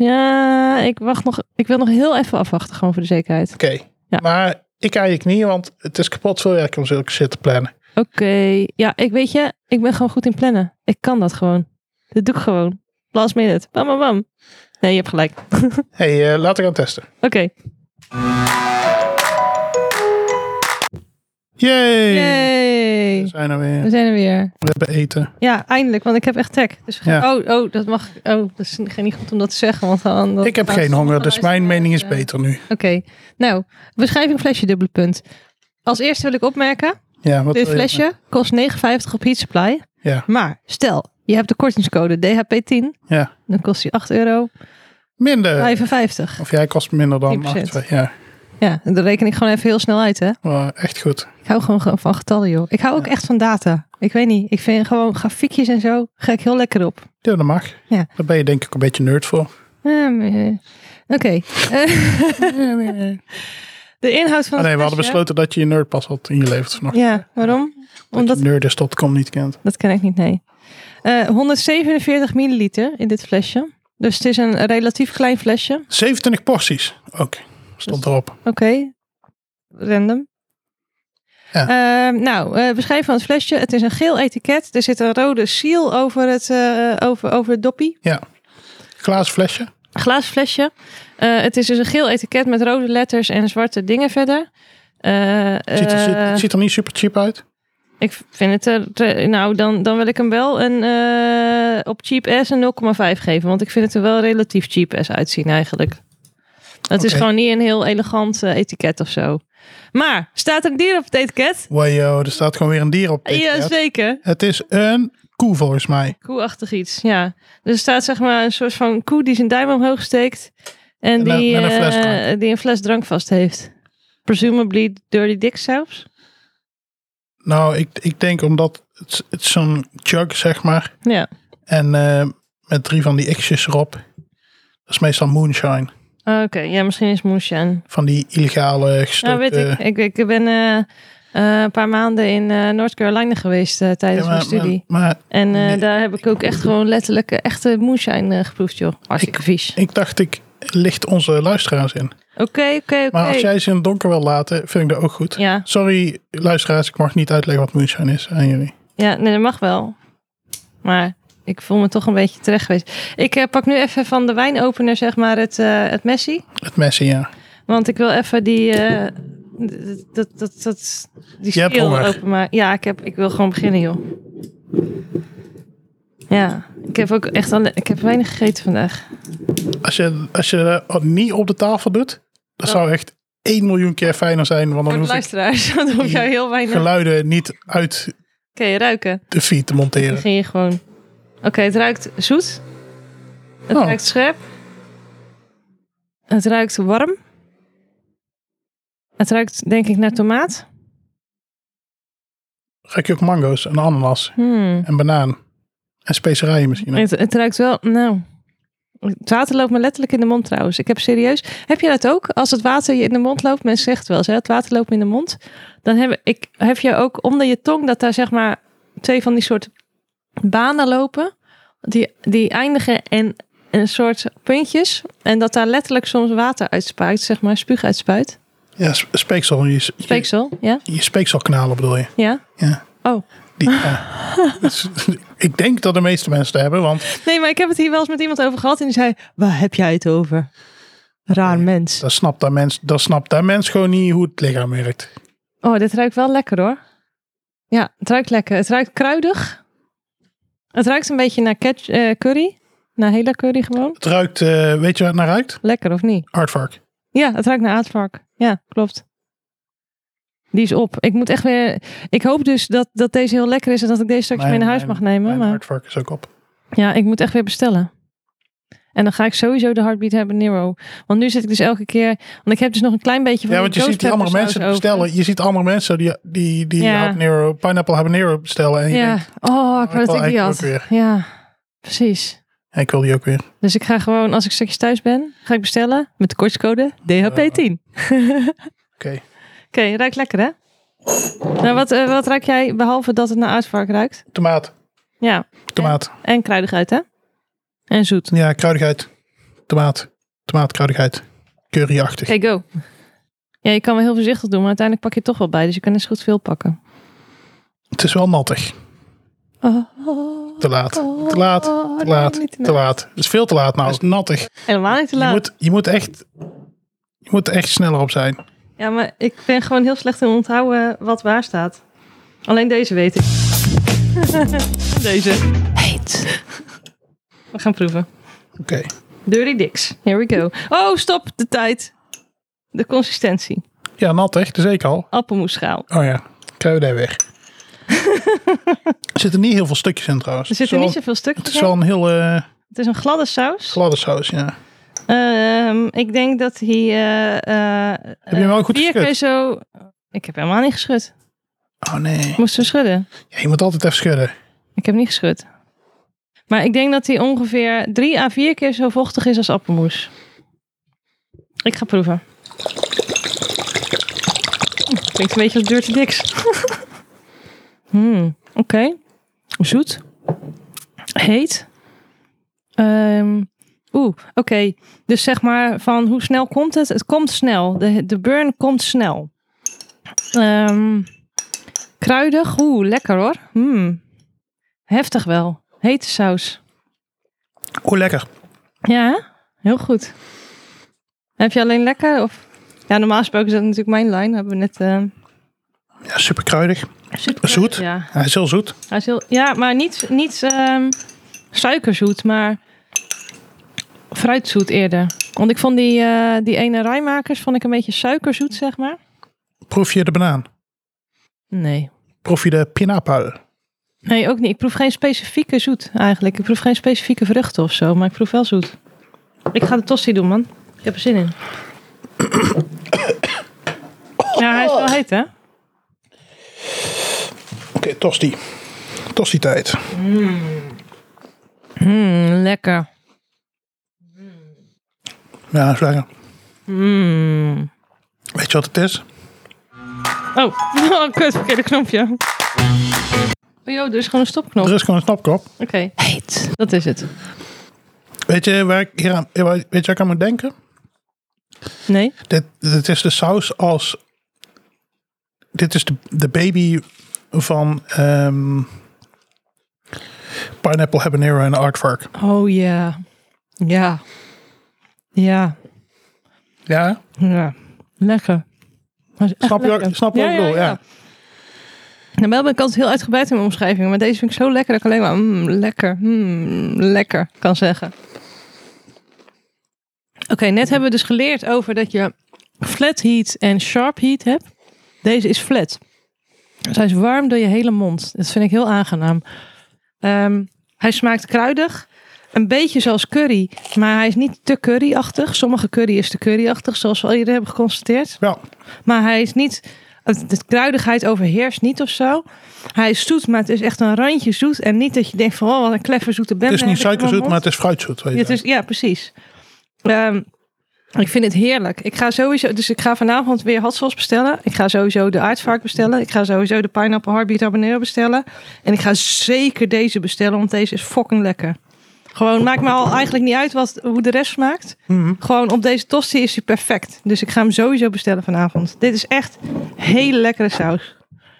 Speaker 2: Ja, ik, wacht nog, ik wil nog heel even afwachten, gewoon voor de zekerheid.
Speaker 1: Oké.
Speaker 2: Ja.
Speaker 1: Maar ik eigenlijk niet, want het is kapot veel werk om zulke shit te plannen.
Speaker 2: Oké, ja, ik weet je, ik ben gewoon goed in plannen. Ik kan dat gewoon. Dat doe ik gewoon. Last minute. Bam, bam, bam. Nee, je hebt gelijk. Oké.
Speaker 1: hey, eh, laten we gaan testen. Yay!
Speaker 2: Yay.
Speaker 1: We zijn er weer.
Speaker 2: We zijn er weer.
Speaker 1: We hebben eten.
Speaker 2: Ja, eindelijk, want ik heb echt trek. Dus we gaan- oh, oh, dat mag. Oh, dat is niet goed om dat te zeggen. Want dan, dat-
Speaker 1: Ik heb
Speaker 2: dat-
Speaker 1: geen honger, dus mijn mening is
Speaker 2: Ja.
Speaker 1: beter nu.
Speaker 2: eh, Oké, nou, beschrijving flesje dubbele punt. Als eerste wil ik opmerken,
Speaker 1: Ja, wat
Speaker 2: dit
Speaker 1: wil je-
Speaker 2: flesje kost 9,50 op Heat Supply.
Speaker 1: Ja.
Speaker 2: Maar stel, je hebt de kortingscode DHP10,
Speaker 1: Ja.
Speaker 2: dan kost die 8 euro.
Speaker 1: Minder.
Speaker 2: 55.
Speaker 1: Of jij kost minder dan
Speaker 2: 10%.
Speaker 1: 8. Ja,
Speaker 2: Ja, en dat reken ik gewoon even heel snel uit, hè.
Speaker 1: maar echt goed.
Speaker 2: Ik hou gewoon ge- van getallen, joh. Ik hou ook echt van data. Ik weet niet, ik vind gewoon grafiekjes en zo, ga ik heel lekker op.
Speaker 1: Ja, dat mag.
Speaker 2: Ja.
Speaker 1: Daar ben je denk ik een beetje nerd voor.
Speaker 2: Ja, maar, eh, Oké. [laughs]
Speaker 1: Ah, nee,
Speaker 2: De inhoud van het
Speaker 1: Ah, we hadden
Speaker 2: flesje-
Speaker 1: besloten dat je je nerdpas had ingeleverd vanochtend.
Speaker 2: Ja, waarom?
Speaker 1: Omdat
Speaker 2: Omdat
Speaker 1: je nerdist.com niet kent.
Speaker 2: Dat ken ik niet, nee. Eh, 147 milliliter in dit flesje. Dus het is een relatief klein flesje.
Speaker 1: 27 porties. Oké, stond erop.
Speaker 2: Oké. Random.
Speaker 1: Ja.
Speaker 2: Eh, nou, eh beschrijf van het flesje. Het is een geel etiket. Er zit een rode seal over het, eh, over, over het doppie.
Speaker 1: Glazen flesje.
Speaker 2: Een glazen flesje. Eh, het is dus een geel etiket met rode letters en zwarte dingen verder. Eh,
Speaker 1: Het ziet, er,
Speaker 2: eh,
Speaker 1: het ziet er niet super cheap uit.
Speaker 2: ik vind het er. te- Nou, dan, dan wil ik hem wel een, eh, op cheap ass een 0,5 geven. Want ik vind het er wel relatief cheap ass uitzien eigenlijk. Het is
Speaker 1: Oké.
Speaker 2: gewoon niet een heel elegant eh, etiket of zo. Maar staat er een dier op het etiket?
Speaker 1: Wajo, er staat gewoon weer een dier op. dit
Speaker 2: Ja,
Speaker 1: etiket.
Speaker 2: zeker.
Speaker 1: Het is een koe volgens mij.
Speaker 2: Koeachtig iets, ja. Dus er staat zeg maar een soort van koe die zijn duim omhoog steekt. En
Speaker 1: Met een-
Speaker 2: die,
Speaker 1: met een
Speaker 2: eh,
Speaker 1: flesdrank.
Speaker 2: die een fles drank vast heeft. Presumably Dirty Dick zelfs.
Speaker 1: Nou, ik, ik denk omdat het, het is zo'n jug, zeg maar.
Speaker 2: Ja.
Speaker 1: En eh, met drie van die X'jes erop. Dat is meestal moonshine.
Speaker 2: Oké, ja, misschien is Moeshan.
Speaker 1: Van die illegale
Speaker 2: Ja,
Speaker 1: gestookte...
Speaker 2: Nou, weet ik. Ik, ik ben eh, eh, een paar maanden in eh North Carolina geweest eh, tijdens
Speaker 1: Ja, maar,
Speaker 2: mijn studie.
Speaker 1: maar, maar
Speaker 2: en eh,
Speaker 1: nee.
Speaker 2: daar heb ik ook echt gewoon letterlijk eh, echte moonshine eh, geproefd, joh. Hartstikke vies.
Speaker 1: ik dacht, ik licht onze luisteraars in.
Speaker 2: Oké, oké,
Speaker 1: Maar als
Speaker 2: oké.
Speaker 1: jij ze in het donker wil laten, vind ik dat ook goed.
Speaker 2: Ja,
Speaker 1: Sorry, luisteraars, ik mag niet uitleggen wat moonshine is aan jullie.
Speaker 2: ja, nee, dat mag wel. Maar ik voel me toch een beetje terecht geweest. Ik eh, pak nu even van de wijnopener, zeg maar, het, eh het messie.
Speaker 1: Het messie, ja.
Speaker 2: Want ik wil even die... eh, d- dat, dat, dat, die
Speaker 1: Je hebt
Speaker 2: spiegel
Speaker 1: honger.
Speaker 2: openmaken. Ja, ik, heb, ik wil gewoon beginnen, joh. Ja, ik heb ook echt alle, ik heb weinig gegeten vandaag.
Speaker 1: Als je, als je dat niet op de tafel doet, dat
Speaker 2: Ja.
Speaker 1: zou echt 1 miljoen keer fijner zijn. Want dan
Speaker 2: Voor de
Speaker 1: hoef ik
Speaker 2: luisteraars, [laughs] want dan hoef jij heel weinig. Oké,
Speaker 1: geluiden niet uit
Speaker 2: ruiken.
Speaker 1: de feed te
Speaker 2: Dan
Speaker 1: monteren.
Speaker 2: begin je gewoon. Oké, het ruikt zoet. Het
Speaker 1: Oh.
Speaker 2: ruikt scherp. Het ruikt warm. Het ruikt denk ik naar tomaat.
Speaker 1: Ruik je ook mango's en ananas
Speaker 2: Hmm.
Speaker 1: en banaan En specerijen misschien. ook.
Speaker 2: Het, het ruikt wel, nou... Het water loopt me letterlijk in de mond trouwens. Ik heb serieus... Heb je dat ook? Als het water je in de mond loopt, mensen zegt wel eens, hè, het water loopt me in de mond. Dan heb, ik, heb je ook onder je tong dat daar zeg maar twee van die soort banen lopen. Die, die eindigen in een soort puntjes. En dat daar letterlijk soms water uitspuit, zeg maar spuug uitspuit.
Speaker 1: Ja, sp- speeksel. Je, je-
Speaker 2: Speeksel, ja?
Speaker 1: Je, speekselkanalen bedoel je.
Speaker 2: Ja?
Speaker 1: Ja.
Speaker 2: Oh. [laughs]
Speaker 1: Die, ja. Dus, ik denk dat de meeste mensen het hebben, want
Speaker 2: Nee, maar ik heb het hier wel eens met iemand over gehad. En die zei, waar heb jij het over? Raar mens.
Speaker 1: dan snapt dat mens, dan snapt dat mens gewoon niet hoe het lichaam werkt.
Speaker 2: Oh, dit ruikt wel lekker hoor. Ja, het ruikt lekker. Het ruikt kruidig. Het ruikt een beetje naar catch, eh, curry. Naar hele curry gewoon.
Speaker 1: Het ruikt, eh, weet je waar het naar ruikt?
Speaker 2: Lekker of niet?
Speaker 1: Aardvark.
Speaker 2: Ja, het ruikt naar aardvark. Ja, klopt. Die is op. Ik moet echt weer. Ik hoop dus dat, dat deze heel lekker is en dat ik deze straks
Speaker 1: Mijn-
Speaker 2: mee naar huis
Speaker 1: mijn-
Speaker 2: mag nemen.
Speaker 1: Mijn
Speaker 2: Maar
Speaker 1: aardvark is ook op.
Speaker 2: ja, ik moet echt weer bestellen. En dan ga ik sowieso de Heartbeat hebben Nero. Want nu zit ik dus elke keer. Want ik heb dus nog een klein beetje van.
Speaker 1: Ja, want je
Speaker 2: ghost
Speaker 1: ziet die andere
Speaker 2: pepper
Speaker 1: mensen
Speaker 2: saus over.
Speaker 1: bestellen. Je ziet andere mensen die, die, die
Speaker 2: Ja.
Speaker 1: habanero, pineapple habanero bestellen. En je
Speaker 2: Ja.
Speaker 1: denkt,
Speaker 2: Oh, ik
Speaker 1: wil
Speaker 2: wou dat ik
Speaker 1: eigenlijk
Speaker 2: die
Speaker 1: ook
Speaker 2: had.
Speaker 1: weer.
Speaker 2: Ja, precies.
Speaker 1: ja, ik wil die ook weer.
Speaker 2: Dus ik ga gewoon, als ik straks thuis ben, ga ik bestellen met de kortscode DHP10.
Speaker 1: Oké.
Speaker 2: Oké, ruikt lekker hè? Nou, wat, eh, wat ruik jij, behalve dat het naar aardvark ruikt?
Speaker 1: Tomaat.
Speaker 2: Ja,
Speaker 1: Tomaat.
Speaker 2: en kruidig uit hè? En zoet.
Speaker 1: Ja, kruidigheid. Tomaat. Tomaatkruidigheid. Curryachtig.
Speaker 2: Oké, go. Ja, je kan wel heel voorzichtig doen, maar uiteindelijk pak je het toch wel bij. Dus je kan eens goed veel pakken.
Speaker 1: Het is wel nattig. Te laat. Te laat.
Speaker 2: Oh,
Speaker 1: Te laat. Te laat. Het is veel te laat nou. Het is nattig.
Speaker 2: Helemaal niet te
Speaker 1: Je
Speaker 2: laat.
Speaker 1: moet, je moet echt... Je moet er echt sneller op zijn.
Speaker 2: Ja, maar ik ben gewoon heel slecht in onthouden wat waar staat. Alleen deze
Speaker 1: [laughs]
Speaker 2: weet ik. deze. Heet. We gaan proeven.
Speaker 1: Oké.
Speaker 2: Dirty Dicks. Here we go. Oh, stop. De tijd. De consistentie.
Speaker 1: Ja, nattig. Dat is ik al.
Speaker 2: Appelmoesschaal.
Speaker 1: Oh ja. Krijgen we daar weg. [laughs] er zitten niet heel veel stukjes in trouwens.
Speaker 2: Er zitten
Speaker 1: Het
Speaker 2: niet
Speaker 1: is wel-
Speaker 2: zoveel
Speaker 1: Het
Speaker 2: stukjes
Speaker 1: is
Speaker 2: in.
Speaker 1: wel een heel eh,
Speaker 2: Het is een gladde saus.
Speaker 1: gladde saus, ja.
Speaker 2: Ehm, ik denk dat hij... eh, eh,
Speaker 1: Heb je hem wel goed
Speaker 2: vier keer
Speaker 1: geschud?
Speaker 2: zo... Ik heb helemaal niet geschud.
Speaker 1: Oh nee.
Speaker 2: Ik moest zo schudden.
Speaker 1: Ja, je moet altijd even schudden.
Speaker 2: Ik heb niet geschud. Maar ik denk dat hij ongeveer drie à vier keer zo vochtig is als appelmoes. Ik ga proeven. Klinkt een beetje als Dirty Dicks. [laughs] Hmm, Oké. Zoet. Heet. Ehm, Oeh, oké. Dus zeg maar van hoe snel komt het? Het komt snel. De, de burn komt snel. Ehm, kruidig. Oeh, lekker hoor. Hmm. Heftig wel. Hete saus.
Speaker 1: Oeh, lekker.
Speaker 2: Ja, hè? heel goed. Heb je alleen lekker? Of... Ja, normaal gesproken is dat natuurlijk mijn lijn. Hebben we net. eh,
Speaker 1: Ja, super kruidig. Zoet.
Speaker 2: Ja,
Speaker 1: Hij is heel zoet.
Speaker 2: Hij is heel... ja maar niet, niet ehm, suikerzoet, maar fruitzoet eerder. Want ik vond die, eh, die ene rijmakers vond ik een beetje suikerzoet, zeg maar.
Speaker 1: Proef je de banaan?
Speaker 2: Nee.
Speaker 1: Proef je de pineapple?
Speaker 2: Nee, ook niet. Ik proef geen specifieke zoet eigenlijk. Ik proef geen specifieke vruchten of zo, maar ik proef wel zoet. Ik ga de tosti doen, man. Ik heb er zin [coughs] in. Ja, hij is wel heet, hè?
Speaker 1: Oké, tosti. Tosti tijd.
Speaker 2: Mm, lekker.
Speaker 1: Ja, zeggen.
Speaker 2: Mm.
Speaker 1: Weet je wat het is?
Speaker 2: Oh, [laughs] oh kut, verkeerde knopje. Oh joh, er is gewoon een stopknop.
Speaker 1: Er
Speaker 2: Oké.
Speaker 1: is gewoon een snapkop.
Speaker 2: Heet. Dat is het.
Speaker 1: Weet je waar ik, hier aan, waar- weet je waar ik aan moet denken?
Speaker 2: Nee?
Speaker 1: Dit, dit is de saus als... Dit is de, de baby van ehm, pineapple habanero en aardvark.
Speaker 2: Oh ja. Ja. Ja.
Speaker 1: Ja,
Speaker 2: Ja. Lekker. Dat is echt
Speaker 1: snap je,
Speaker 2: lekker.
Speaker 1: wat- snap je wat ik bedoel? Ja,
Speaker 2: Nou, wel ben ik altijd heel uitgebreid in mijn omschrijving. Maar deze vind ik zo lekker dat ik alleen maar mm, lekker, mm, lekker kan zeggen. Oké, net hebben we dus geleerd over dat je flat heat en sharp heat hebt. Deze is flat. Dus hij is warm door je hele mond. Dat vind ik heel aangenaam. Ehm, hij smaakt kruidig. Een beetje zoals curry. Maar hij is niet te curryachtig. Sommige curry is te curryachtig, zoals we al eerder hebben geconstateerd.
Speaker 1: Ja,
Speaker 2: Maar hij is niet het- de kruidigheid overheerst niet of zo. Hij is zoet, maar het is echt een randje zoet. En niet dat je denkt van, oh, wat een kleffe zoete bende.
Speaker 1: Het is niet
Speaker 2: heb ik in mijn
Speaker 1: suikerzoet,
Speaker 2: mond.
Speaker 1: maar het is fruitzoet. Weet je.
Speaker 2: Ja, het is, ja precies. Ehm, ik vind het heerlijk. Ik ga sowieso, dus ik ga vanavond weer hot sauce bestellen. Ik ga sowieso de aardvark bestellen. Ik ga sowieso de pineapple heartbeat habanero bestellen. En ik ga zeker deze bestellen, want deze is fucking lekker. Gewoon, maakt me al eigenlijk niet uit wat, hoe de rest smaakt.
Speaker 1: Mhm.
Speaker 2: Gewoon op deze tosti is hij perfect. Dus ik ga hem sowieso bestellen vanavond. Dit is echt hele lekkere saus.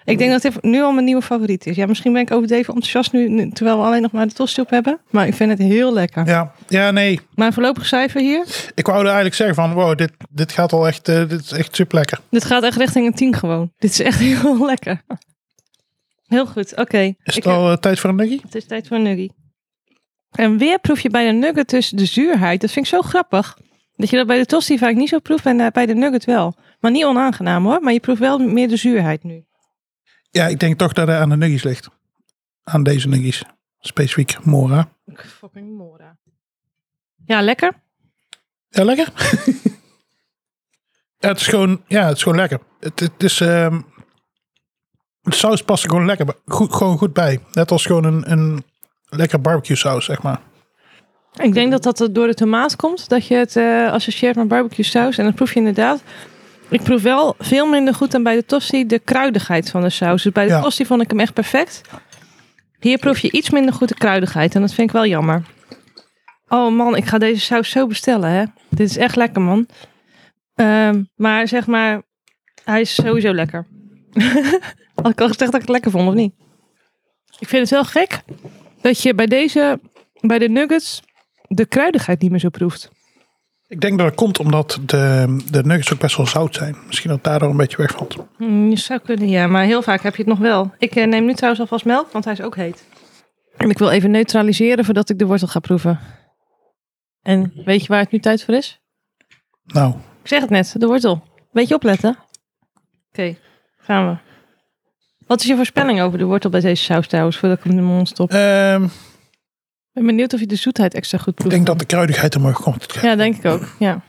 Speaker 2: Ik denk dat dit nu al mijn nieuwe favoriet is. Ja, misschien ben ik overdreven enthousiast nu, nu terwijl we alleen nog maar de tosti op hebben. Maar ik vind het heel lekker.
Speaker 1: ja. ja, nee.
Speaker 2: Mijn voorlopig cijfer hier.
Speaker 1: Ik wou er eigenlijk zeggen van, wow, dit, dit gaat al echt, eh, dit is echt super lekker.
Speaker 2: Dit gaat echt richting een 10 gewoon. Dit is echt [laughs] heel lekker. Heel goed, oké.
Speaker 1: Is
Speaker 2: Ik-
Speaker 1: het al eh, tijd voor een nuggie?
Speaker 2: Het is tijd voor een nuggie. En weer proef je bij de nugget dus de zuurheid. Dat vind ik zo grappig. Dat je dat bij de tosti vaak niet zo proeft en eh, bij de nugget wel. Maar niet onaangenaam hoor. Maar je proeft wel meer de zuurheid nu.
Speaker 1: Ja, ik denk toch dat hij aan de nuggies ligt. Aan deze nuggies. Specifiek Mora.
Speaker 2: Fucking mora. Ja, lekker.
Speaker 1: Ja, lekker. [laughs] ja, het is gewoon, ja, het is gewoon lekker. Het, het is, ehm, de saus past er gewoon lekker bij- goed, gewoon goed bij. Net als gewoon een, een lekker barbecue saus, zeg maar.
Speaker 2: Ik denk dat dat door de tomaat komt. Dat je het eh, associeert met barbecue saus. En dat proef je inderdaad. Ik proef wel veel minder goed dan bij de tosti de kruidigheid van de saus. Dus bij de
Speaker 1: Ja.
Speaker 2: tosti vond ik hem echt perfect. Hier proef je iets minder goed de kruidigheid. En dat vind ik wel jammer. Oh man, ik ga deze saus zo bestellen. Hè? Dit is echt lekker man. Ehm, maar zeg maar, hij is sowieso lekker. [laughs] Had ik al gezegd dat ik het lekker vond, of niet? Ik vind het wel gek dat je bij deze, bij de nuggets, de kruidigheid niet meer zo proeft.
Speaker 1: Ik denk dat dat komt omdat de, de nuggets ook best wel zout zijn. Misschien dat daardoor een beetje wegvalt.
Speaker 2: Hmm, je zou kunnen, ja, maar heel vaak heb je het nog wel. Ik eh, neem nu trouwens alvast melk, want hij is ook heet. En ik wil even neutraliseren voordat ik de wortel ga proeven. En weet je waar het nu tijd voor is?
Speaker 1: Nou,
Speaker 2: Ik zeg het net, de wortel. Beetje opletten. Oké, gaan we. Wat is je voorspelling over de wortel bij deze saus trouwens, voordat ik hem in mijn mond stop?
Speaker 1: ehm,
Speaker 2: Ik ben benieuwd of je de zoetheid extra goed
Speaker 1: ik
Speaker 2: proeft.
Speaker 1: denk dat de kruidigheid omhoog komt.
Speaker 2: Ja, denk ik ook, ja.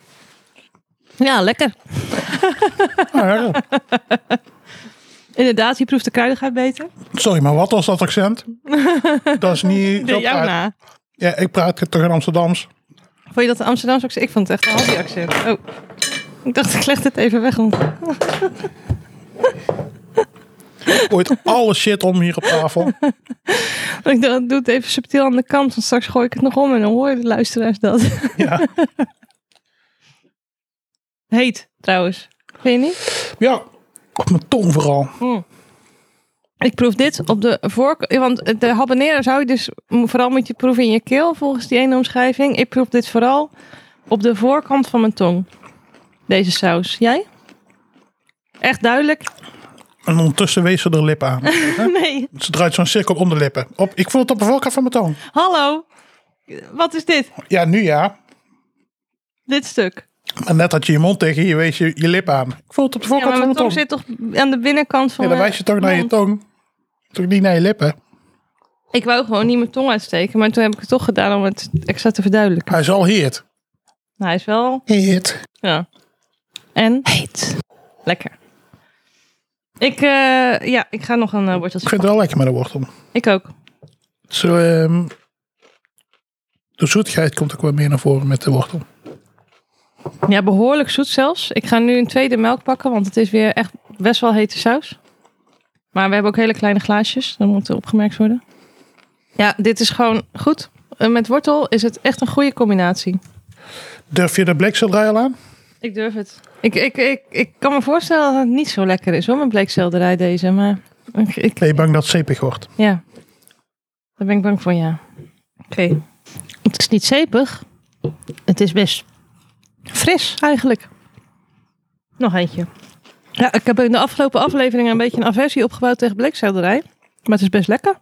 Speaker 2: Ja, lekker.
Speaker 1: Ah, ja.
Speaker 2: Inderdaad, je proeft de kruidigheid beter.
Speaker 1: Sorry, maar wat was dat
Speaker 2: [laughs]
Speaker 1: accent? Dat is niet...
Speaker 2: De
Speaker 1: dat
Speaker 2: jou
Speaker 1: praat-
Speaker 2: na.
Speaker 1: ja, ik praat toch in Amsterdams.
Speaker 2: Vond je dat een Amsterdamse accent? Ik vond het echt een halfje accent. Oh, ik dacht ik leg dit even weg. om-
Speaker 1: Ooit alle shit om hier op
Speaker 2: [laughs]
Speaker 1: tafel.
Speaker 2: Ik dacht, doe het even subtiel aan de kant, want straks gooi ik het nog om en dan hoor je de luisteraars dat. [laughs]
Speaker 1: Ja.
Speaker 2: Heet, trouwens. Vind je niet?
Speaker 1: Ja, op mijn tong vooral.
Speaker 2: Ik proef dit op de voorkant. Want de habanero zou je dus vooral moet je proeven in je keel, volgens die ene omschrijving. Ik proef dit vooral op de voorkant van mijn tong. Deze saus. Jij? Echt duidelijk?
Speaker 1: En ondertussen wees ze de lip
Speaker 2: [laughs]
Speaker 1: aan.
Speaker 2: Nee.
Speaker 1: Ze draait zo'n cirkel om de lippen. Op, ik voel het op de voorkant van mijn tong.
Speaker 2: Hallo, wat is dit?
Speaker 1: Ja, nu ja.
Speaker 2: Dit stuk.
Speaker 1: Maar net had je je mond tegen je, wees je je lip aan. Ik voel het op de
Speaker 2: Ja,
Speaker 1: voorkant
Speaker 2: maar
Speaker 1: van
Speaker 2: mijn
Speaker 1: mijn
Speaker 2: tong
Speaker 1: tong.
Speaker 2: zit toch aan de binnenkant van
Speaker 1: Ja, dan
Speaker 2: mijn
Speaker 1: wijs je toch naar je
Speaker 2: mond.
Speaker 1: tong. Toch niet naar je lippen.
Speaker 2: Ik wou gewoon niet mijn tong uitsteken, maar toen heb ik het toch gedaan om het extra te verduidelijken.
Speaker 1: Hij is al heet.
Speaker 2: Nou, hij is wel...
Speaker 1: Heet.
Speaker 2: Ja. En? Heet. Lekker. Ik, eh, ja, ik ga nog een eh,
Speaker 1: Ik
Speaker 2: worteltje.
Speaker 1: vind het wel lekker met een wortel.
Speaker 2: Ik ook.
Speaker 1: Zo, ehm, de zoetigheid komt ook wel meer naar voren met de wortel.
Speaker 2: Ja, behoorlijk zoet zelfs. Ik ga nu een tweede melk pakken, want het is weer echt best wel hete saus. Maar we hebben ook hele kleine glaasjes, dat moet opgemerkt worden. Ja, dit is gewoon goed. En Met wortel is het echt een goede combinatie.
Speaker 1: Durf je de blikseldraai al aan?
Speaker 2: Ik durf het. Ik, ik, ik, ik kan me voorstellen dat het niet zo lekker is hoor, met bleekselderij deze. Maar ik, ik-
Speaker 1: Ben je bang dat het zeepig wordt?
Speaker 2: ja, daar ben ik bang voor, ja. Oké. Het is niet zeepig. Het is best fris eigenlijk. Nog eentje. Ja, ik heb in de afgelopen afleveringen een beetje een aversie opgebouwd tegen bleekselderij. Maar het is best lekker.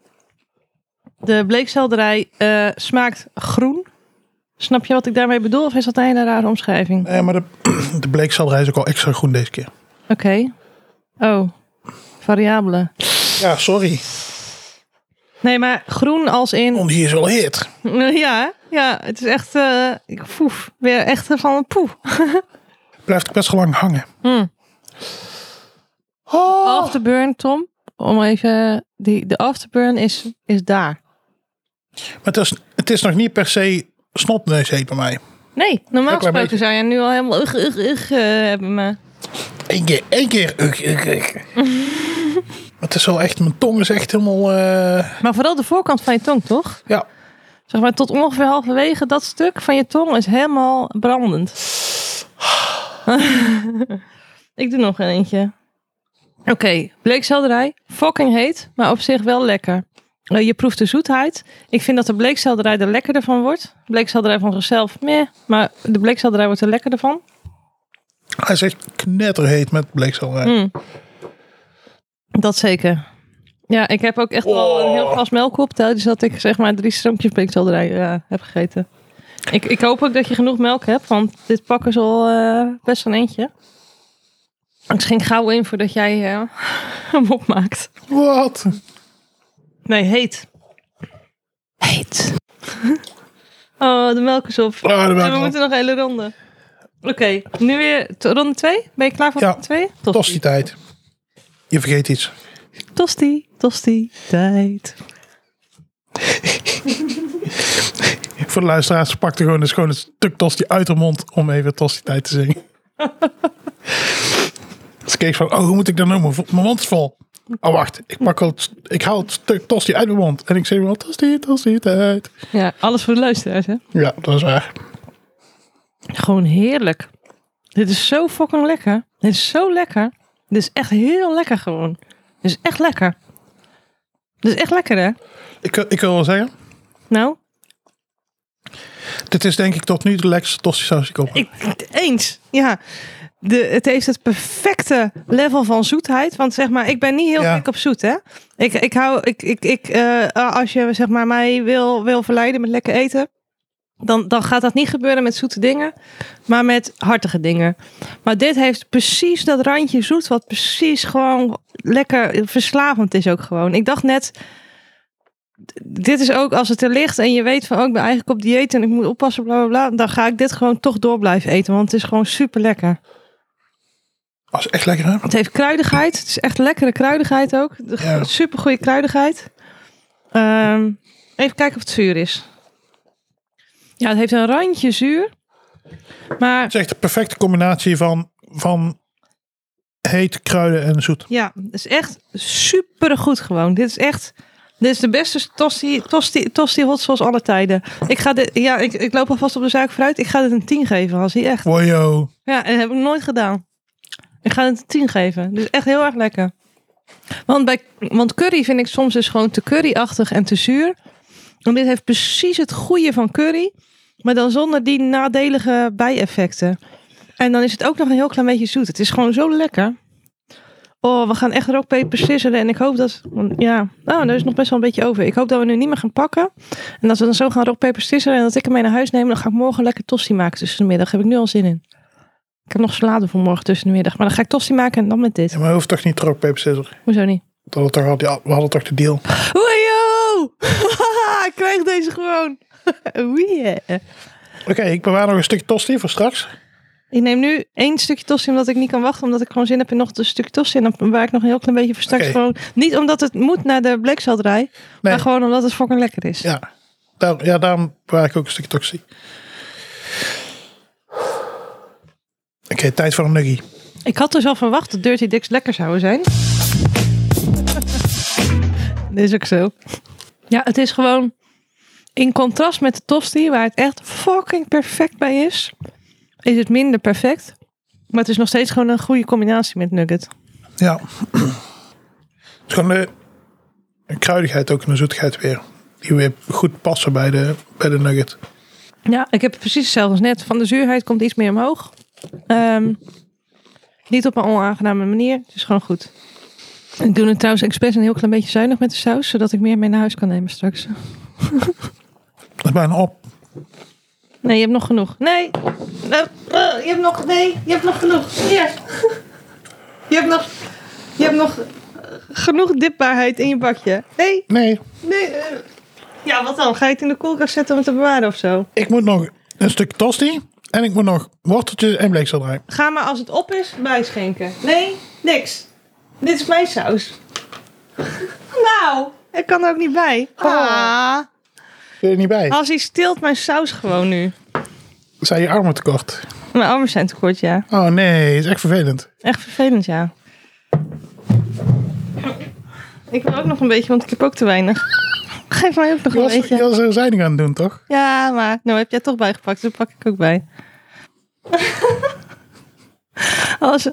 Speaker 2: De bleekselderij eh, smaakt groen. Snap je wat ik daarmee bedoel? Of is dat een hele rare omschrijving?
Speaker 1: Nee, maar de, de [clears throat] bleekselderij is ook al extra groen deze keer.
Speaker 2: Oké. Oh, variabele.
Speaker 1: Ja, sorry.
Speaker 2: Nee, maar groen als in... [laughs]
Speaker 1: Want die is wel heet.
Speaker 2: Ja, hè? ja, het is echt... eh, ik poef. Weer echt van een poef.
Speaker 1: Blijft ook best wel lang hangen.
Speaker 2: Hmm.
Speaker 1: Oh,
Speaker 2: afterburn, Tom. Om even, die, de afterburn is, is daar.
Speaker 1: Maar het is, het is nog niet per se snotneus heet bij mij.
Speaker 2: Nee, normaal
Speaker 1: Een klein
Speaker 2: gesproken
Speaker 1: beetje.
Speaker 2: zou jij nu al helemaal ugh, ugh, ugh, eh, hebben. Maar
Speaker 1: Eén keer, één
Speaker 2: [laughs]
Speaker 1: keer. Uk, uk, uk. Maar het is wel echt, mijn tong is echt helemaal... eh,
Speaker 2: Maar vooral de voorkant van je tong, toch?
Speaker 1: ja,
Speaker 2: Zeg maar tot ongeveer halverwege dat stuk van je tong is helemaal brandend. [laughs] Ik doe nog een eentje. Oké, bleekselderij. Fucking heet, maar op zich wel lekker. Eh, je proeft de zoetheid. Ik vind dat de bleekselderij er lekkerder van wordt. Bleekselderij van zichzelf, meh. Maar de bleekselderij wordt er lekkerder van.
Speaker 1: hij is echt knetterheet met eh. bleekselderij.
Speaker 2: Mm. Dat zeker. Ja, ik heb ook echt wel een heel
Speaker 1: Oh.
Speaker 2: glas melk op tijdens dat ik zeg maar drie stroompjes bleekselderij eh, heb gegeten. Ik, ik hoop ook dat je genoeg melk hebt, want dit pakken is al eh, best een eentje. Ik schenk gauw in voordat jij eh, [laughs] hem opmaakt.
Speaker 1: Wat? Ah,
Speaker 2: Nee, heet. Heet. [laughs] oh, de melk is op.
Speaker 1: Ah, de melk
Speaker 2: en
Speaker 1: is
Speaker 2: we
Speaker 1: op.
Speaker 2: moeten nog een hele ronde. Oké, nu weer t- ronde twee. Ben je klaar voor
Speaker 1: Ja.
Speaker 2: ronde twee?
Speaker 1: Tosti tijd. Je vergeet iets.
Speaker 2: Tosti, tosti, tijd.
Speaker 1: Voor de luisteraars, ze pakte gewoon een schone stuk tosti uit haar mond om even tosti tijd te zingen. Ze keek van, oh, hoe moet ik dat noemen? Mijn mond is vol. Oh, wacht. Ik, pak wel het, st- ik haal het stuk tosti uit mijn mond. En ik zeg wel, tosti, tosti tijd.
Speaker 2: Ja, alles voor de luisteraars, hè?
Speaker 1: Ja, dat is waar.
Speaker 2: Gewoon heerlijk. Dit is zo fucking lekker. Dit is zo lekker. Dit is echt heel lekker gewoon. Dit is echt lekker. Dit is echt lekker, hè?
Speaker 1: Ik, wil- ik wil wel zeggen,
Speaker 2: Nou,
Speaker 1: dit is denk ik tot nu de lekkerste tosti saus die ik op heb.
Speaker 2: ik, eens. Ja. De, het heeft het perfecte level van zoetheid. Want zeg maar, ik ben niet heel
Speaker 1: Ja.
Speaker 2: gek op zoet, hè? Ik, ik hou, ik, ik, ik, eh, als je zeg maar, mij wil, wil verleiden met lekker eten, dan, dan gaat dat niet gebeuren met zoete dingen, maar met hartige dingen. Maar dit heeft precies dat randje zoet, wat precies gewoon lekker verslavend is ook gewoon. Ik dacht net, dit is ook als het er ligt en je weet van, oh, ik ben eigenlijk op dieet en ik moet oppassen, bla bla bla, dan ga ik dit gewoon toch door blijven eten, want het is gewoon super lekker.
Speaker 1: Dat is echt lekker, hè?
Speaker 2: Het heeft kruidigheid. Het is echt lekkere kruidigheid ook.
Speaker 1: Ja.
Speaker 2: Super goede kruidigheid. Ehm, even kijken of het zuur is. Ja, het heeft een randje zuur. Maar
Speaker 1: Het is echt de perfecte combinatie van, van heet, kruiden en zoet.
Speaker 2: ja, het is echt super goed gewoon. Dit is echt. Dit is de beste tosti, tosti, tosti hot sauce alle tijden. Ik, ga dit, ja, ik, ik loop alvast op de zaak vooruit. Ik ga dit een 10 geven, als hij echt.
Speaker 1: Wojo.
Speaker 2: Ja, en dat heb ik nooit gedaan. Ik ga het een 10 geven. Dus echt heel erg lekker. Want, bij, want curry vind ik soms dus gewoon te curryachtig en te zuur. En dit heeft precies het goede van curry. Maar dan zonder die nadelige bijeffecten. En dan is het ook nog een heel klein beetje zoet. Het is gewoon zo lekker. Oh, we gaan echt rookpepers sisselen. En ik hoop dat... want Ja, nou, daar is nog best wel een beetje over. Ik hoop dat we nu niet meer gaan pakken. En dat we dan zo gaan rookpepers sisselen. En dat ik hem mee naar huis neem. Dan ga ik morgen lekker tosti maken tussen de middag. Heb ik nu al zin in. Ik heb nog salade voor morgen tussen de middag. Maar dan ga ik tosti maken en dan met dit.
Speaker 1: Ja, maar hoeft toch niet trok paper scissors?
Speaker 2: Hoezo niet?
Speaker 1: Dat we, toch al die, we hadden toch de deal.
Speaker 2: Oejo! [laughs] ik krijg deze gewoon. [laughs] Oei, eh. yeah.
Speaker 1: Oké, ik bewaar nog een stuk tosti voor straks.
Speaker 2: Ik neem nu één stukje tosti omdat ik niet kan wachten. Omdat ik gewoon zin heb in nog een stuk tosti. En dan waar ik nog een heel klein beetje voor straks
Speaker 1: Oké.
Speaker 2: gewoon... Niet omdat het moet naar de bleekselderij. Maar gewoon omdat het fucking lekker is.
Speaker 1: Ja, daar, ja daarom bewaar ik ook een stuk toxie. Oké, tijd voor een nuggie.
Speaker 2: Ik had dus al verwacht dat Dirty Dicks lekker zouden zijn. [laughs] Dat is ook zo. Ja, het is gewoon in contrast met de tosti, waar het echt fucking perfect bij is, is het minder perfect. Maar het is nog steeds gewoon een goede combinatie met nugget.
Speaker 1: Ja. Het is gewoon de een kruidigheid ook en een zoetigheid weer. Die weer goed passen bij de, bij de nugget.
Speaker 2: Ja, ik heb het precies hetzelfde als net. Van de zuurheid komt iets meer omhoog. Ehm, niet op een onaangename manier. Het is gewoon goed. Ik doe het trouwens expres een heel klein beetje zuinig met de saus, zodat ik meer mee naar huis kan nemen straks.
Speaker 1: Dat is bijna op.
Speaker 2: Nee, je hebt nog genoeg. Nee. Eh, eh, je hebt nog. Nee, je hebt nog genoeg. Hier. Je hebt nog. Je hebt nog. eh, Genoeg dipbaarheid in je bakje. Nee,
Speaker 1: Nee,
Speaker 2: nee. eh. Ja, wat dan? Ga je het in de koelkast zetten om het te bewaren of zo?
Speaker 1: ik moet nog een stuk tosti. En ik moet nog worteltjes en bleekselderij.
Speaker 2: Ga maar als het op is bijschenken. Nee, niks. Dit is mijn saus. [laughs] nou, ik kan er ook niet bij. Ah.
Speaker 1: Zit er niet bij.
Speaker 2: Als hij stilt mijn saus gewoon nu.
Speaker 1: Zijn je armen tekort?
Speaker 2: Mijn armen zijn tekort, ja.
Speaker 1: Oh nee, is echt vervelend.
Speaker 2: Echt vervelend, ja. Ik wil ook nog een beetje, want ik heb ook te weinig. [laughs] Geef mij ook nog
Speaker 1: Je
Speaker 2: een
Speaker 1: was, je
Speaker 2: beetje.
Speaker 1: was er zijn aan het doen, toch?
Speaker 2: Ja, maar nou heb jij toch bijgepakt, dus pak ik ook bij. [laughs] Als,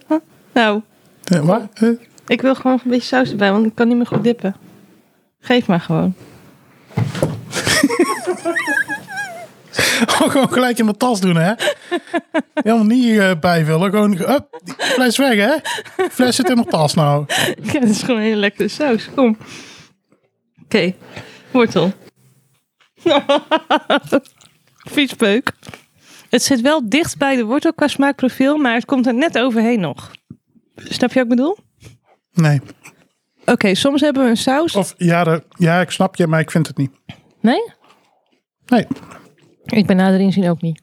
Speaker 2: nou,
Speaker 1: Eh, Maar, eh,
Speaker 2: ik wil gewoon een beetje saus erbij, want ik kan niet meer goed dippen. Geef maar gewoon.
Speaker 1: [laughs] gewoon gelijk in mijn tas doen, hè? Helemaal niet eh, bijvullen. Gewoon, hup, die fles weg, hè? Die Fles zit in mijn tas nou.
Speaker 2: [laughs] Ja, dat is gewoon een hele lekkere saus. Kom. Oké, wortel. [laughs] Vies peuk. Het zit wel dicht bij de wortel qua smaakprofiel, maar het komt er net overheen nog. Snap je wat ik bedoel?
Speaker 1: Nee.
Speaker 2: Oké, soms hebben we een saus.
Speaker 1: Of ja, de- ja, ik snap je, maar ik vind het niet.
Speaker 2: Nee?
Speaker 1: Nee.
Speaker 2: Ik ben nader inzien ook niet.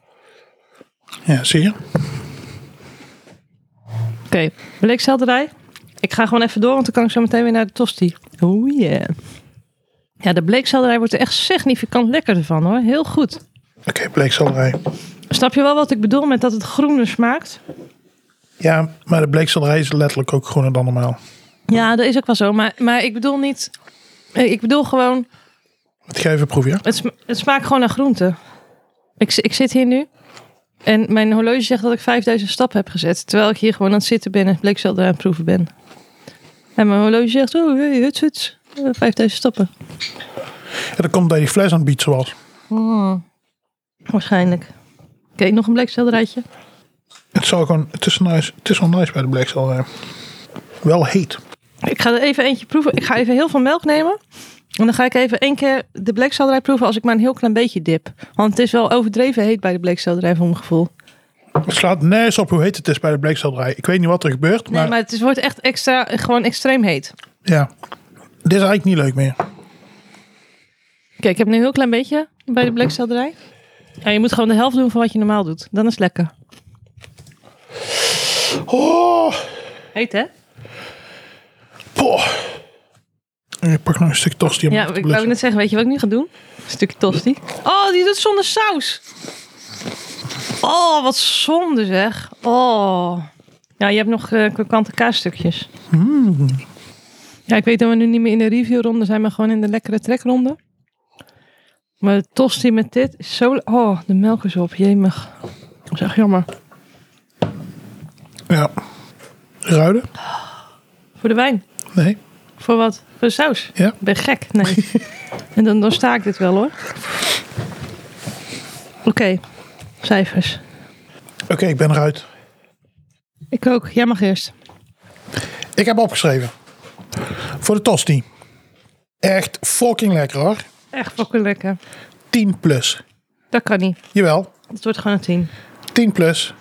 Speaker 1: Ja, zie je?
Speaker 2: Oké, bleekselderij. Ik ga gewoon even door, want dan kan ik zo meteen weer naar de tosti. Oh yeah. Ja, de bleekselderij wordt er echt significant lekkerder van hoor. Heel goed.
Speaker 1: Oké, bleekselderij.
Speaker 2: Snap je wel wat ik bedoel met dat het groener smaakt?
Speaker 1: Ja, maar de bleekselderij is letterlijk ook groener dan normaal.
Speaker 2: Ja, dat is ook wel zo. Maar, maar ik bedoel niet... eh, Ik bedoel gewoon...
Speaker 1: Het geef even proeven, ja?
Speaker 2: Het, sma- het smaakt gewoon naar groente. Ik, zi- ik zit hier nu. En mijn horloge zegt dat ik 5000 stappen heb gezet. Terwijl ik hier gewoon aan het zitten ben en bleekselder aan het proeven ben. En mijn horloge zegt... Oh, hey, huts, huts. eh, 5000 stappen.
Speaker 1: En dat komt dat die fles aan het bietsen was.
Speaker 2: Waarschijnlijk. Oké, nog een bleekselderijtje.
Speaker 1: Het, zou gewoon, het, is nice, het is wel nice bij de bleekselderij. Wel heet.
Speaker 2: Ik ga er even eentje proeven. Ik ga even heel veel melk nemen. En dan ga ik even één keer de bleekselderij proeven als ik maar een heel klein beetje dip. Want het is wel overdreven heet bij de bleekselderij voor mijn gevoel.
Speaker 1: Het slaat nergens op hoe heet het is bij de bleekselderij. Ik weet niet wat er gebeurt, maar,
Speaker 2: Nee, maar het is, wordt echt extra, gewoon extreem heet.
Speaker 1: ja. Dit is eigenlijk niet leuk meer.
Speaker 2: Kijk, ik heb nu een heel klein beetje bij de bleekselderij. En je moet gewoon de helft doen van wat je normaal doet. Dan is het lekker.
Speaker 1: Oh,
Speaker 2: Heet hè?
Speaker 1: poh. Ik pak nog een stuk tosti om
Speaker 2: Ja,
Speaker 1: te
Speaker 2: ik wou
Speaker 1: blussen.
Speaker 2: net zeggen, weet je wat ik nu ga doen? Een stukje tosti. Oh, die doet zonder saus. Oh, wat zonde zeg. Oh. Ja, je hebt nog eh krokante kaasstukjes. Hmm. Ja, ik weet dat we nu niet meer in de reviewronde zijn, maar gewoon in de lekkere trekronde. Maar de tosti met dit is zo... le- Oh, de melk is op. Jemig. Dat is echt jammer.
Speaker 1: Ja. Ruiden?
Speaker 2: Voor de wijn.
Speaker 1: Nee.
Speaker 2: Voor wat? Voor de saus.
Speaker 1: Ja.
Speaker 2: Ik ben gek. Nee.
Speaker 1: [laughs]
Speaker 2: en dan, dan sta ik dit wel hoor. Oké, cijfers.
Speaker 1: Oké, ik ben eruit.
Speaker 2: Ik ook. Jij mag eerst.
Speaker 1: Ik heb opgeschreven. Voor de tosti. Echt fucking lekker hoor.
Speaker 2: Echt fucking lekker.
Speaker 1: 10 plus.
Speaker 2: Dat kan niet.
Speaker 1: Jawel,
Speaker 2: Het wordt gewoon een 10.
Speaker 1: 10 plus.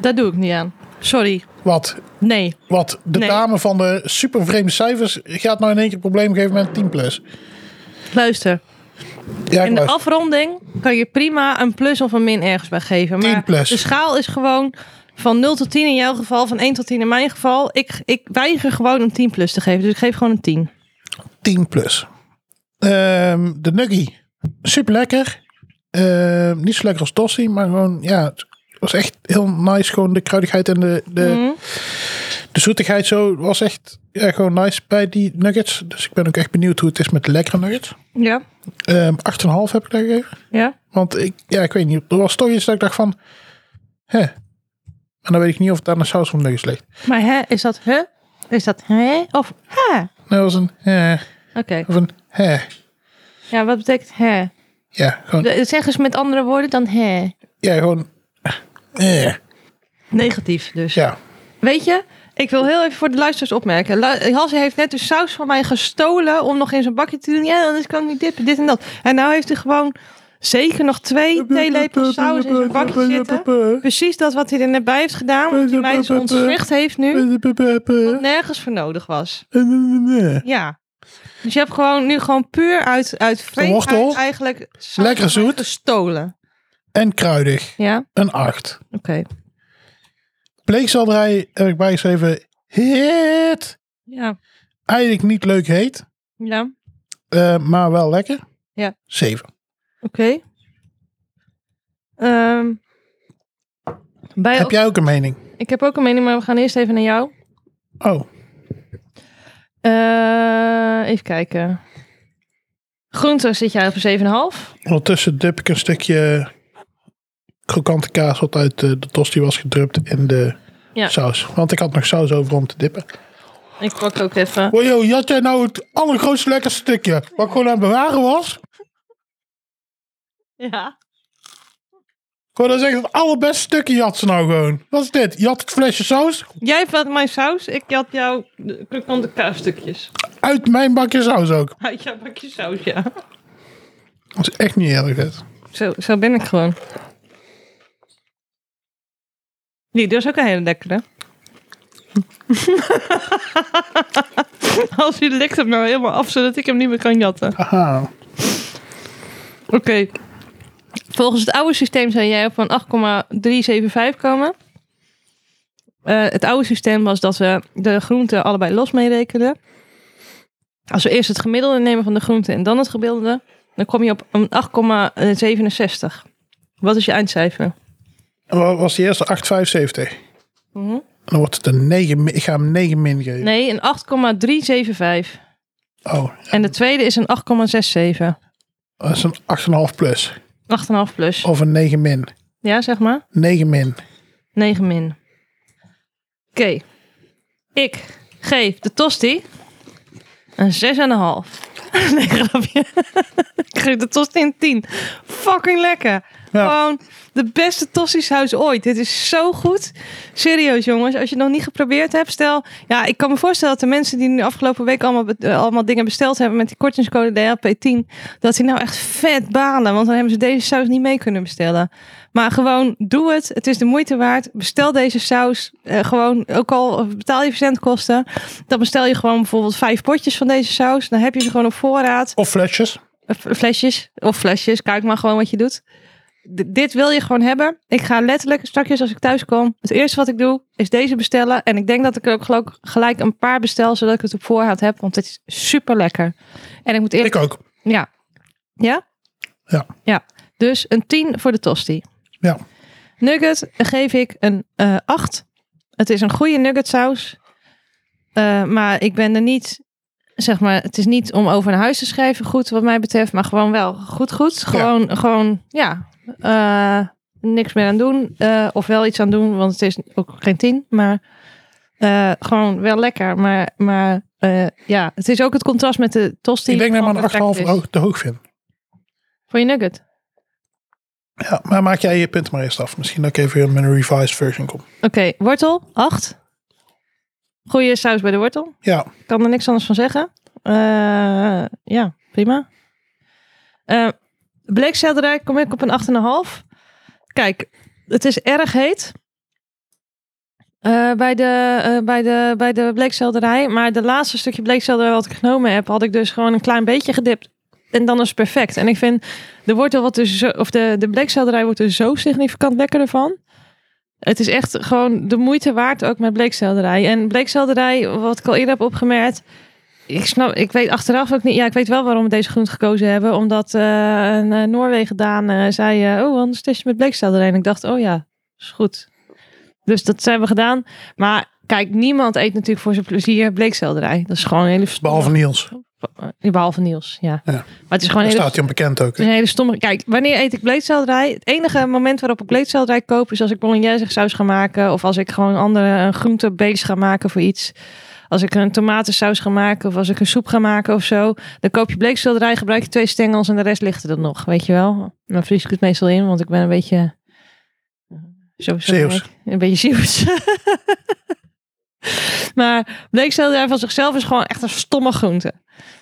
Speaker 2: Daar doe ik niet aan. Sorry.
Speaker 1: Wat,
Speaker 2: Nee.
Speaker 1: wat de
Speaker 2: Nee.
Speaker 1: dame van de super vreemde cijfers gaat nou in één keer een probleem geven met 10 plus.
Speaker 2: Luister.
Speaker 1: Ja, ik
Speaker 2: In de
Speaker 1: luister.
Speaker 2: afronding kan je prima een plus of een min ergens bij geven. Maar
Speaker 1: 10 plus.
Speaker 2: de schaal is gewoon van 0 tot 10 in jouw geval, van 1 tot 10 in mijn geval. Ik, ik weiger gewoon een 10 plus te geven. Dus ik geef gewoon een 10.
Speaker 1: 10 plus. Ehm, de nuggie. Super lekker. Ehm, niet zo lekker als Tossie, maar gewoon, ja, het was echt heel nice. Gewoon de kruidigheid en de, de,
Speaker 2: Mhm.
Speaker 1: de zoetigheid zo was echt ja, gewoon nice bij die nuggets. Dus ik ben ook echt benieuwd hoe het is met de lekkere nuggets.
Speaker 2: Ja.
Speaker 1: Ehm 8,5 heb ik daar gegeven.
Speaker 2: Ja.
Speaker 1: Want ik, ja, ik weet niet, er was toch iets dat ik dacht van, hè. En dan weet ik niet of het aan de saus van nuggets ligt.
Speaker 2: Maar hè, is dat hè? Is dat hè? Of hè? Oké.
Speaker 1: Dat was een hè, of een hè.
Speaker 2: Ja, wat betekent hè?
Speaker 1: Ja, gewoon,
Speaker 2: De- Zeg eens met andere woorden dan hè.
Speaker 1: ja, gewoon, eh.
Speaker 2: Negatief dus.
Speaker 1: Ja,
Speaker 2: Weet je, ik wil heel even voor de luisteraars opmerken. Lu- Hasse heeft net de saus van mij gestolen om nog in zijn bakje te doen. Ja, anders kan ik niet dit, dit en dat. En nou heeft hij gewoon zeker nog twee theelepels saus in zijn bakje zitten. Precies dat wat hij er net bij heeft gedaan. Wat hij mij zo ontzegd heeft nu. Nergens voor nodig was. Ja. Dus je hebt gewoon nu gewoon puur uit, uit vreemdheid
Speaker 1: wortel.
Speaker 2: eigenlijk saus
Speaker 1: Lekker
Speaker 2: van mij
Speaker 1: zoet.
Speaker 2: gestolen.
Speaker 1: En kruidig,
Speaker 2: Ja, oké.
Speaker 1: een 8. Pleegselderij heb ik bijgeschreven, hit.
Speaker 2: Ja.
Speaker 1: Eigenlijk niet leuk heet,
Speaker 2: Ja. Oké.
Speaker 1: eh, maar wel lekker.
Speaker 2: Ja.
Speaker 1: Zeven.
Speaker 2: Ehm, bij
Speaker 1: Heb jij ook een mening?
Speaker 2: Ik heb ook een mening, maar we gaan eerst even naar jou.
Speaker 1: Oh,
Speaker 2: Eh, even kijken. Groente zit jij op een 7,5.
Speaker 1: ondertussen dip ik een stukje krokante kaas wat uit eh, de, de tosti was gedrupt in de
Speaker 2: Ja.
Speaker 1: saus. Want ik had nog saus over om te dippen.
Speaker 2: Ik pak ook even.
Speaker 1: Oh joh, had jij nou het allergrootste lekkerste stukje? Wat ik gewoon aan het bewaren was?
Speaker 2: Ja.
Speaker 1: Gewoon dat is echt het allerbeste stukje jat ze nou gewoon. Wat is dit? Jat het flesje saus?
Speaker 2: Jij had mijn saus, ik had jouw krokante kaasstukjes.
Speaker 1: Uit mijn bakje saus ook.
Speaker 2: Uit jouw bakje saus, ja.
Speaker 1: Dat is echt niet eerlijk dit.
Speaker 2: Zo, zo ben ik gewoon. Die, dat is ook een hele lekkere. [laughs] Als u likt hem nou helemaal af, zodat ik hem niet meer kan jatten.
Speaker 1: Haha.
Speaker 2: Oké. Volgens het oude systeem zou jij op een 8,375 komen. Eh, het oude systeem was dat we de groenten allebei los meerekenden. Als we eerst het gemiddelde nemen van de groenten en dan het gemiddelde, dan kom je op een 8,67. Wat is je eindcijfer?
Speaker 1: En wat was die eerste 8,75?
Speaker 2: Mhm.
Speaker 1: Dan wordt het een 9. min- Ik ga hem 9 min geven.
Speaker 2: Nee, een 8,375.
Speaker 1: Oh,
Speaker 2: En de tweede is een 8,67.
Speaker 1: dat is een 8,5 plus.
Speaker 2: 8,5 plus.
Speaker 1: Of een 9 min.
Speaker 2: Ja, zeg maar.
Speaker 1: 9 min.
Speaker 2: 9 min. Oké. Ik geef de tosti een 6,5. [laughs] Nee, grapje. ik geef de tosti een 10. Fucking lekker.
Speaker 1: Ja.
Speaker 2: Gewoon de beste tostisaus ooit. Dit is zo goed. Serieus jongens, als je het nog niet geprobeerd hebt, stel... Ja, ik kan me voorstellen dat de mensen die nu afgelopen week allemaal, be- eh, allemaal dingen besteld hebben... met die kortingscode DHP10, dat die nou echt vet balen. Want dan hebben ze deze saus niet mee kunnen bestellen. Maar gewoon doe het. Het is de moeite waard. Bestel deze saus. eh, gewoon, ook al betaal je verzendkosten. Dan bestel je gewoon bijvoorbeeld vijf potjes van deze saus. Dan heb je ze gewoon op voorraad.
Speaker 1: Of flesjes.
Speaker 2: Eh, f- Flesjes of flesjes. Kijk maar gewoon wat je doet. D- dit wil je gewoon hebben. Ik ga letterlijk straks als ik thuis kom. Het eerste wat ik doe is deze bestellen. En ik denk dat ik er ook geloof ik gelijk een paar bestel. Zodat ik het op voorraad heb. Want het is super lekker. En ik moet eerlijk
Speaker 1: Ik ook.
Speaker 2: ja. Ja?
Speaker 1: Ja.
Speaker 2: Ja. Dus een 10 voor de tosti.
Speaker 1: Ja.
Speaker 2: Nugget geef ik een eh 8. Het is een goede nuggetsaus. Eh, maar ik ben er niet, zeg maar, het is niet om over naar huis te schrijven goed wat mij betreft. Maar gewoon wel goed goed. Gewoon, ja. gewoon, ja. eh, niks meer aan doen. eh, of wel iets aan doen, want het is ook geen 10. Maar eh, gewoon wel lekker. Maar, maar eh, ja, het is ook het contrast met de tosti.
Speaker 1: Ik denk dat
Speaker 2: van
Speaker 1: ik
Speaker 2: perfect
Speaker 1: maar een 8,5
Speaker 2: is.
Speaker 1: ho- te hoog vind.
Speaker 2: Voor je nugget.
Speaker 1: Ja, maar maak jij je punt maar eerst af. Misschien dat ik even met een revised version kom.
Speaker 2: Oké, wortel, 8. Goeie saus bij de wortel.
Speaker 1: Ja,
Speaker 2: Ik kan er niks anders van zeggen. Eh, ja, prima. Eh bleekselderij kom ik op een 8,5. Kijk, het is erg heet. eh, bij, de, eh, bij, de, bij de bleekselderij. Maar de laatste stukje bleekselderij wat ik genomen heb, had ik dus gewoon een klein beetje gedipt. En dan is het perfect. En ik vind de wortel wat dus zo, of de, de bleekselderij wordt er zo significant lekkerder van. Het is echt gewoon de moeite waard ook met bleekselderij. En bleekselderij, wat ik al eerder heb opgemerkt. Ik snap, ik weet achteraf ook niet. Ja, ik weet wel waarom we deze groente gekozen hebben. Omdat eh, een eh, Noorwegen Daan eh, zei: eh, Oh, anders test je met bleekselderij. En ik dacht: Oh ja, is goed. Dus dat hebben we gedaan. Maar kijk, niemand eet natuurlijk voor zijn plezier bleekselderij. Dat is gewoon een hele.
Speaker 1: behalve Niels.
Speaker 2: Behalve Niels, ja.
Speaker 1: Ja.
Speaker 2: Maar het is gewoon
Speaker 1: Daar
Speaker 2: een hele
Speaker 1: staat hij onbekend ook.
Speaker 2: het is een hele stomme. Kijk, wanneer eet ik bleekselderij? Het enige moment waarop ik bleekselderij koop is als ik bolognese saus ga maken. Of als ik gewoon andere een groentebeest ga maken voor iets. Als ik een tomatensaus ga maken of als ik een soep ga maken of zo. Dan koop je bleekselderij, gebruik je twee stengels en de rest ligt er dan nog. Weet je wel? Dan vries ik het meestal in, want ik ben een beetje... eh, Zo, zo
Speaker 1: Zeeuws.
Speaker 2: ben ik. Een beetje Zeeuws. [laughs] maar bleekselderij van zichzelf is gewoon echt een stomme groente.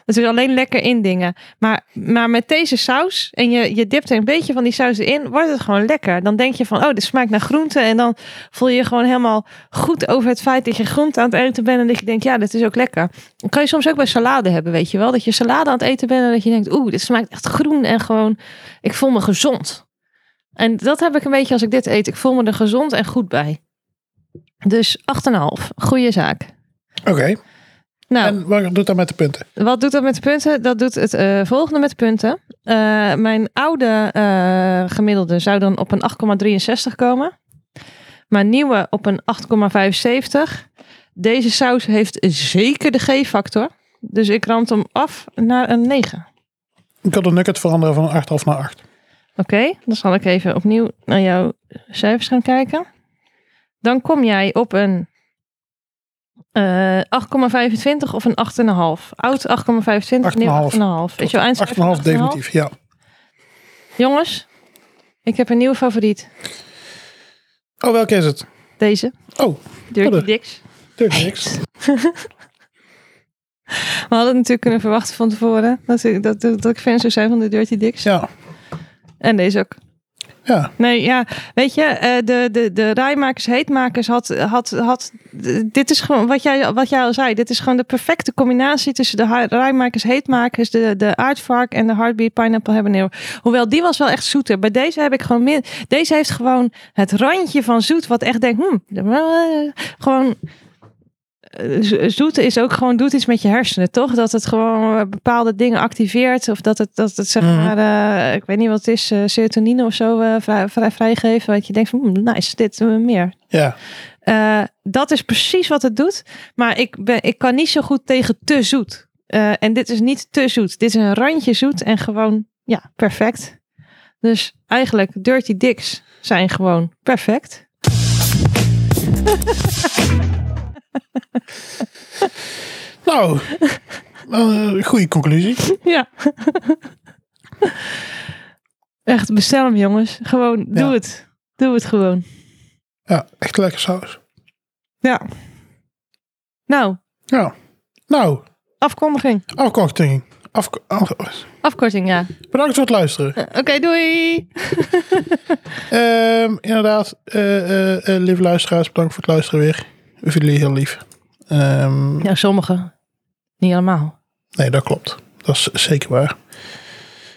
Speaker 2: Het is alleen lekker in dingen. Maar, maar met deze saus, en je, je dipt er een beetje van die saus in, wordt het gewoon lekker. Dan denk je van, oh, dit smaakt naar groente. En dan voel je je gewoon helemaal goed over het feit dat je groente aan het eten bent. En dat je denkt, ja, dit is ook lekker. Dan kan je soms ook bij salade hebben, weet je wel. Dat je salade aan het eten bent en dat je denkt, oeh, dit smaakt echt groen. En gewoon, ik voel me gezond. En dat heb ik een beetje als ik dit eet. Ik voel me er gezond en goed bij. Dus 8,5. Goeie zaak.
Speaker 1: Oké,
Speaker 2: Nou,
Speaker 1: En wat doet dat met de punten?
Speaker 2: Wat doet dat met de punten? Dat doet het eh, volgende met de punten. Eh, mijn oude eh, gemiddelde zou dan op een 8,63 komen. Mijn nieuwe op een 8,75. Deze saus heeft zeker de G-factor. Dus ik rand hem af naar een 9.
Speaker 1: Ik kan de nugget veranderen van een 8,5 naar 8.
Speaker 2: Oké, dan zal ik even opnieuw naar jouw cijfers gaan kijken. Dan kom jij op een eh 8,25 of een 8,5. Oud 8,25, nieuw
Speaker 1: 8,5.
Speaker 2: 8,5. Is jouw eindcijfer
Speaker 1: 8,5 definitief, ja.
Speaker 2: Jongens, ik heb een nieuwe favoriet.
Speaker 1: Oh, welke is het?
Speaker 2: Deze.
Speaker 1: Oh,
Speaker 2: Dirty
Speaker 1: Hallo.
Speaker 2: Dicks.
Speaker 1: Dirty niks.
Speaker 2: We hadden het natuurlijk kunnen verwachten van tevoren. Dat ik, dat, dat ik fan zou zijn van de Dirty Dicks.
Speaker 1: Ja,
Speaker 2: En deze ook.
Speaker 1: ja.
Speaker 2: Nee, ja. Weet je, eh, de, de, de rijmakers, heetmakers had... had, had d- dit is gewoon wat jij, wat jij al zei. Dit is gewoon de perfecte combinatie tussen de ha- rijmakers, heetmakers... de, de aardvark en de heartbeat pineapple habanero. Hoewel, die was wel echt zoeter. Bij deze heb ik gewoon meer... Deze heeft gewoon het randje van zoet wat echt denkt... Hmm, eh, gewoon... eh, zo- Zoet is ook gewoon doet iets met je hersenen, toch? Dat het gewoon eh, bepaalde dingen activeert. Of dat het, dat het zeg
Speaker 1: Mhm.
Speaker 2: maar, eh, ik weet niet wat het is, eh, serotonine of zo eh, vrij, vrij, vrijgeven. Dat je denkt van, hmm, nice, dit eh, meer.
Speaker 1: ja.
Speaker 2: Eh, dat is precies wat het doet. Maar ik, ben, ik kan niet zo goed tegen te zoet. Eh, en dit is niet te zoet. Dit is een randje zoet en gewoon, ja, perfect. Dus eigenlijk, Dirty Dicks zijn gewoon perfect. [laughs]
Speaker 1: Nou, eh, goede conclusie.
Speaker 2: Ja. [laughs] Echt, bestel hem jongens. Gewoon, doe
Speaker 1: Ja.
Speaker 2: het. Doe het gewoon.
Speaker 1: Ja, echt lekker saus.
Speaker 2: Ja. Nou,
Speaker 1: Ja. Nou,
Speaker 2: afkondiging.
Speaker 1: afkorting. Afko- af-
Speaker 2: Afkorting, ja.
Speaker 1: Bedankt voor het luisteren.
Speaker 2: Oké, doei!
Speaker 1: Ehm, inderdaad, eh, eh, eh, lieve luisteraars, bedankt voor het luisteren weer. We vinden jullie heel lief. Ehm,
Speaker 2: Nou, sommigen. Niet allemaal.
Speaker 1: Nee, dat klopt. Dat is zeker waar.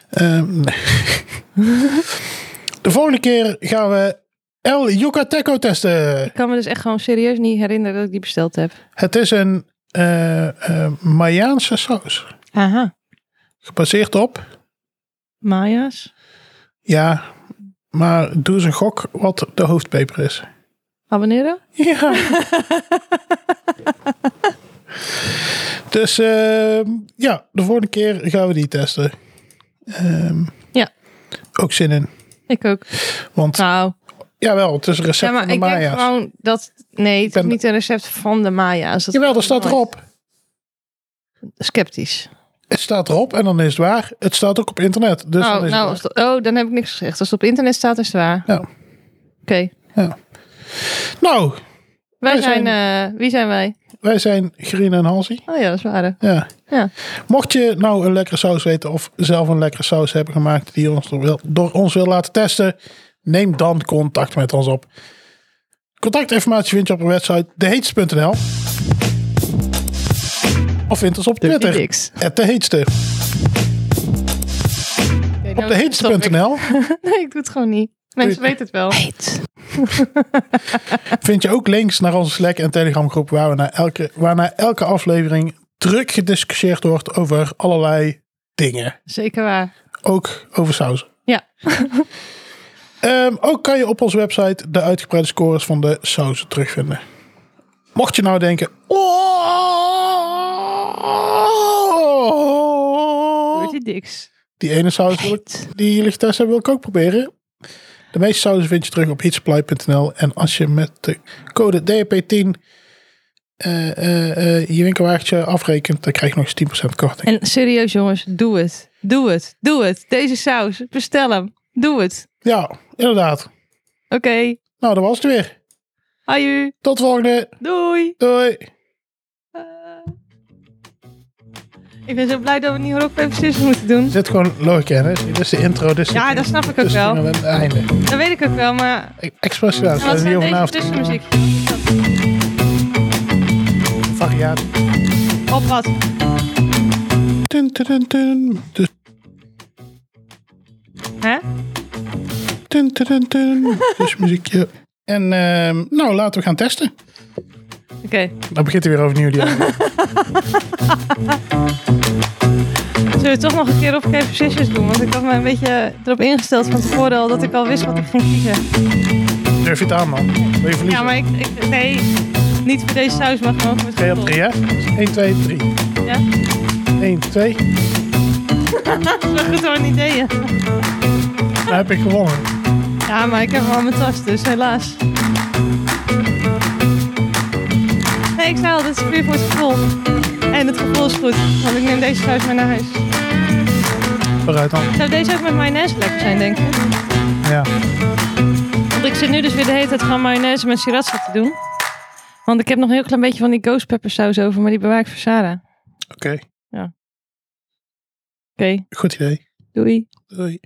Speaker 1: Ehm, [laughs] nee. De volgende keer gaan we El Yucateco testen.
Speaker 2: Ik kan me dus echt gewoon serieus niet herinneren dat ik die besteld heb.
Speaker 1: Het is een eh eh, Mayaanse saus.
Speaker 2: Aha.
Speaker 1: Gebaseerd op,
Speaker 2: Maya's.
Speaker 1: ja, maar doe eens een gok wat de hoofdpeper is.
Speaker 2: Abonneren?
Speaker 1: Ja. [laughs] dus ehm, ja, de volgende keer gaan we die testen. Ehm,
Speaker 2: Ja.
Speaker 1: Ook zin in.
Speaker 2: Ik ook.
Speaker 1: Want
Speaker 2: Nou,
Speaker 1: Jawel, het is een
Speaker 2: ja,
Speaker 1: recept
Speaker 2: maar
Speaker 1: van de
Speaker 2: ik denk
Speaker 1: Maya's.
Speaker 2: gewoon dat... Nee, het
Speaker 1: Ik ben-
Speaker 2: is niet een recept van de Maya's. Dat
Speaker 1: Jawel, dat staat
Speaker 2: nooit.
Speaker 1: erop.
Speaker 2: Sceptisch.
Speaker 1: Het staat erop en dan is het waar. Het staat ook op internet. Dus dan
Speaker 2: oh,
Speaker 1: is
Speaker 2: nou,
Speaker 1: het
Speaker 2: als dat- oh, dan heb ik niks gezegd. Als het op internet staat, is het waar.
Speaker 1: waar. Ja.
Speaker 2: Oké.
Speaker 1: Nou, Wij
Speaker 2: Wij zijn... eh, wie zijn wij?
Speaker 1: wij zijn Green en Halsey.
Speaker 2: Oh ja, dat is waar.
Speaker 1: Ja.
Speaker 2: Ja.
Speaker 1: Mocht je nou een lekkere saus weten of zelf een lekkere saus hebben gemaakt die je ons door, wil, door ons wil laten testen, neem dan contact met ons op. Contactinformatie vind je op de website deheetste.nl of vind ons op
Speaker 2: Dirty
Speaker 1: Twitter.
Speaker 2: Dicks.
Speaker 1: at deheetste. Op deheetste.nl
Speaker 2: nou, Nee, ik doe het gewoon niet. Mensen weten het wel.
Speaker 1: vind je ook links naar onze Slack en Telegram groep waar we na elke, waar na elke aflevering druk gediscussieerd wordt over allerlei dingen.
Speaker 2: Zeker waar.
Speaker 1: Ook over sauzen.
Speaker 2: Ja.
Speaker 1: Ehm, ook kan je op onze website de uitgebreide scores van de sauzen terugvinden. Mocht je nou denken... "Oh,
Speaker 2: Dirty Dicks.
Speaker 1: Die ene saus wil ik, die jullie getest hebben wil ik ook proberen. De meeste sauzen vind je terug op heatsupply.nl. En als je met de code DAP10 eh, eh, eh, je winkelwagentje afrekent, dan krijg je nog eens 10% korting.
Speaker 2: En serieus jongens, doe het. Doe het. Doe het. Deze saus. Bestel hem. Doe het.
Speaker 1: Ja, inderdaad.
Speaker 2: Oké.
Speaker 1: Nou, dat was het weer.
Speaker 2: Aju.
Speaker 1: Tot de volgende.
Speaker 2: Doei.
Speaker 1: Doei.
Speaker 2: Eh. ik ben zo blij dat we niet rock, paper, scissors moeten doen.
Speaker 1: Er zit gewoon logica in, hè? Dit is de intro, dus
Speaker 2: Ja, dat snap ik ook
Speaker 1: dus
Speaker 2: wel.
Speaker 1: het einde.
Speaker 2: Dat weet ik ook wel, maar...
Speaker 1: Ik- Expres gedaan.
Speaker 2: En wat
Speaker 1: Dat is
Speaker 2: zijn
Speaker 1: hier
Speaker 2: deze
Speaker 1: vanavond
Speaker 2: tussenmuziek?
Speaker 1: variatie.
Speaker 2: Op wat?
Speaker 1: Dun, dun, dun, dun. Dus
Speaker 2: Hè?
Speaker 1: Dun,
Speaker 2: [laughs]
Speaker 1: dun, dun, dun. Dus muziekje. En ehm, nou, laten we gaan testen. Dan begint hij weer overnieuw. Die
Speaker 2: [laughs]
Speaker 1: avond.
Speaker 2: Zullen we toch nog een keer op Cave Sessions doen? Want ik had me een beetje erop ingesteld van tevoren al dat ik al wist wat ik ging kiezen.
Speaker 1: Durf je het aan, man? Wil je verliezen?
Speaker 2: Ja, maar ik, ik nee, niet voor deze saus, maar gewoon voor het
Speaker 1: Ga je op
Speaker 2: gevoel.
Speaker 1: drie, hè? 1, 2, 3.
Speaker 2: Ja?
Speaker 1: 1, 2.
Speaker 2: Dat is gewoon ideeën.
Speaker 1: Dan heb ik gewonnen.
Speaker 2: Ja, maar ik heb hem al in mijn tas, dus helaas. Nee, ik zei al, dit is weer voor het gevoel. En het gevoel is goed, want ik neem deze saus mee naar huis.
Speaker 1: Vooruit dan.
Speaker 2: Zou deze ook met mayonaise lekker zijn, denk ik?
Speaker 1: Ja.
Speaker 2: Want ik zit nu dus weer de hele tijd gewoon mayonaise met sriracha te doen. Want ik heb nog een heel klein beetje van die ghost pepper saus over, maar die bewaar ik voor Sarah. Oké,
Speaker 1: Oké,
Speaker 2: okay,
Speaker 1: goed idee.
Speaker 2: doei.
Speaker 1: Doei.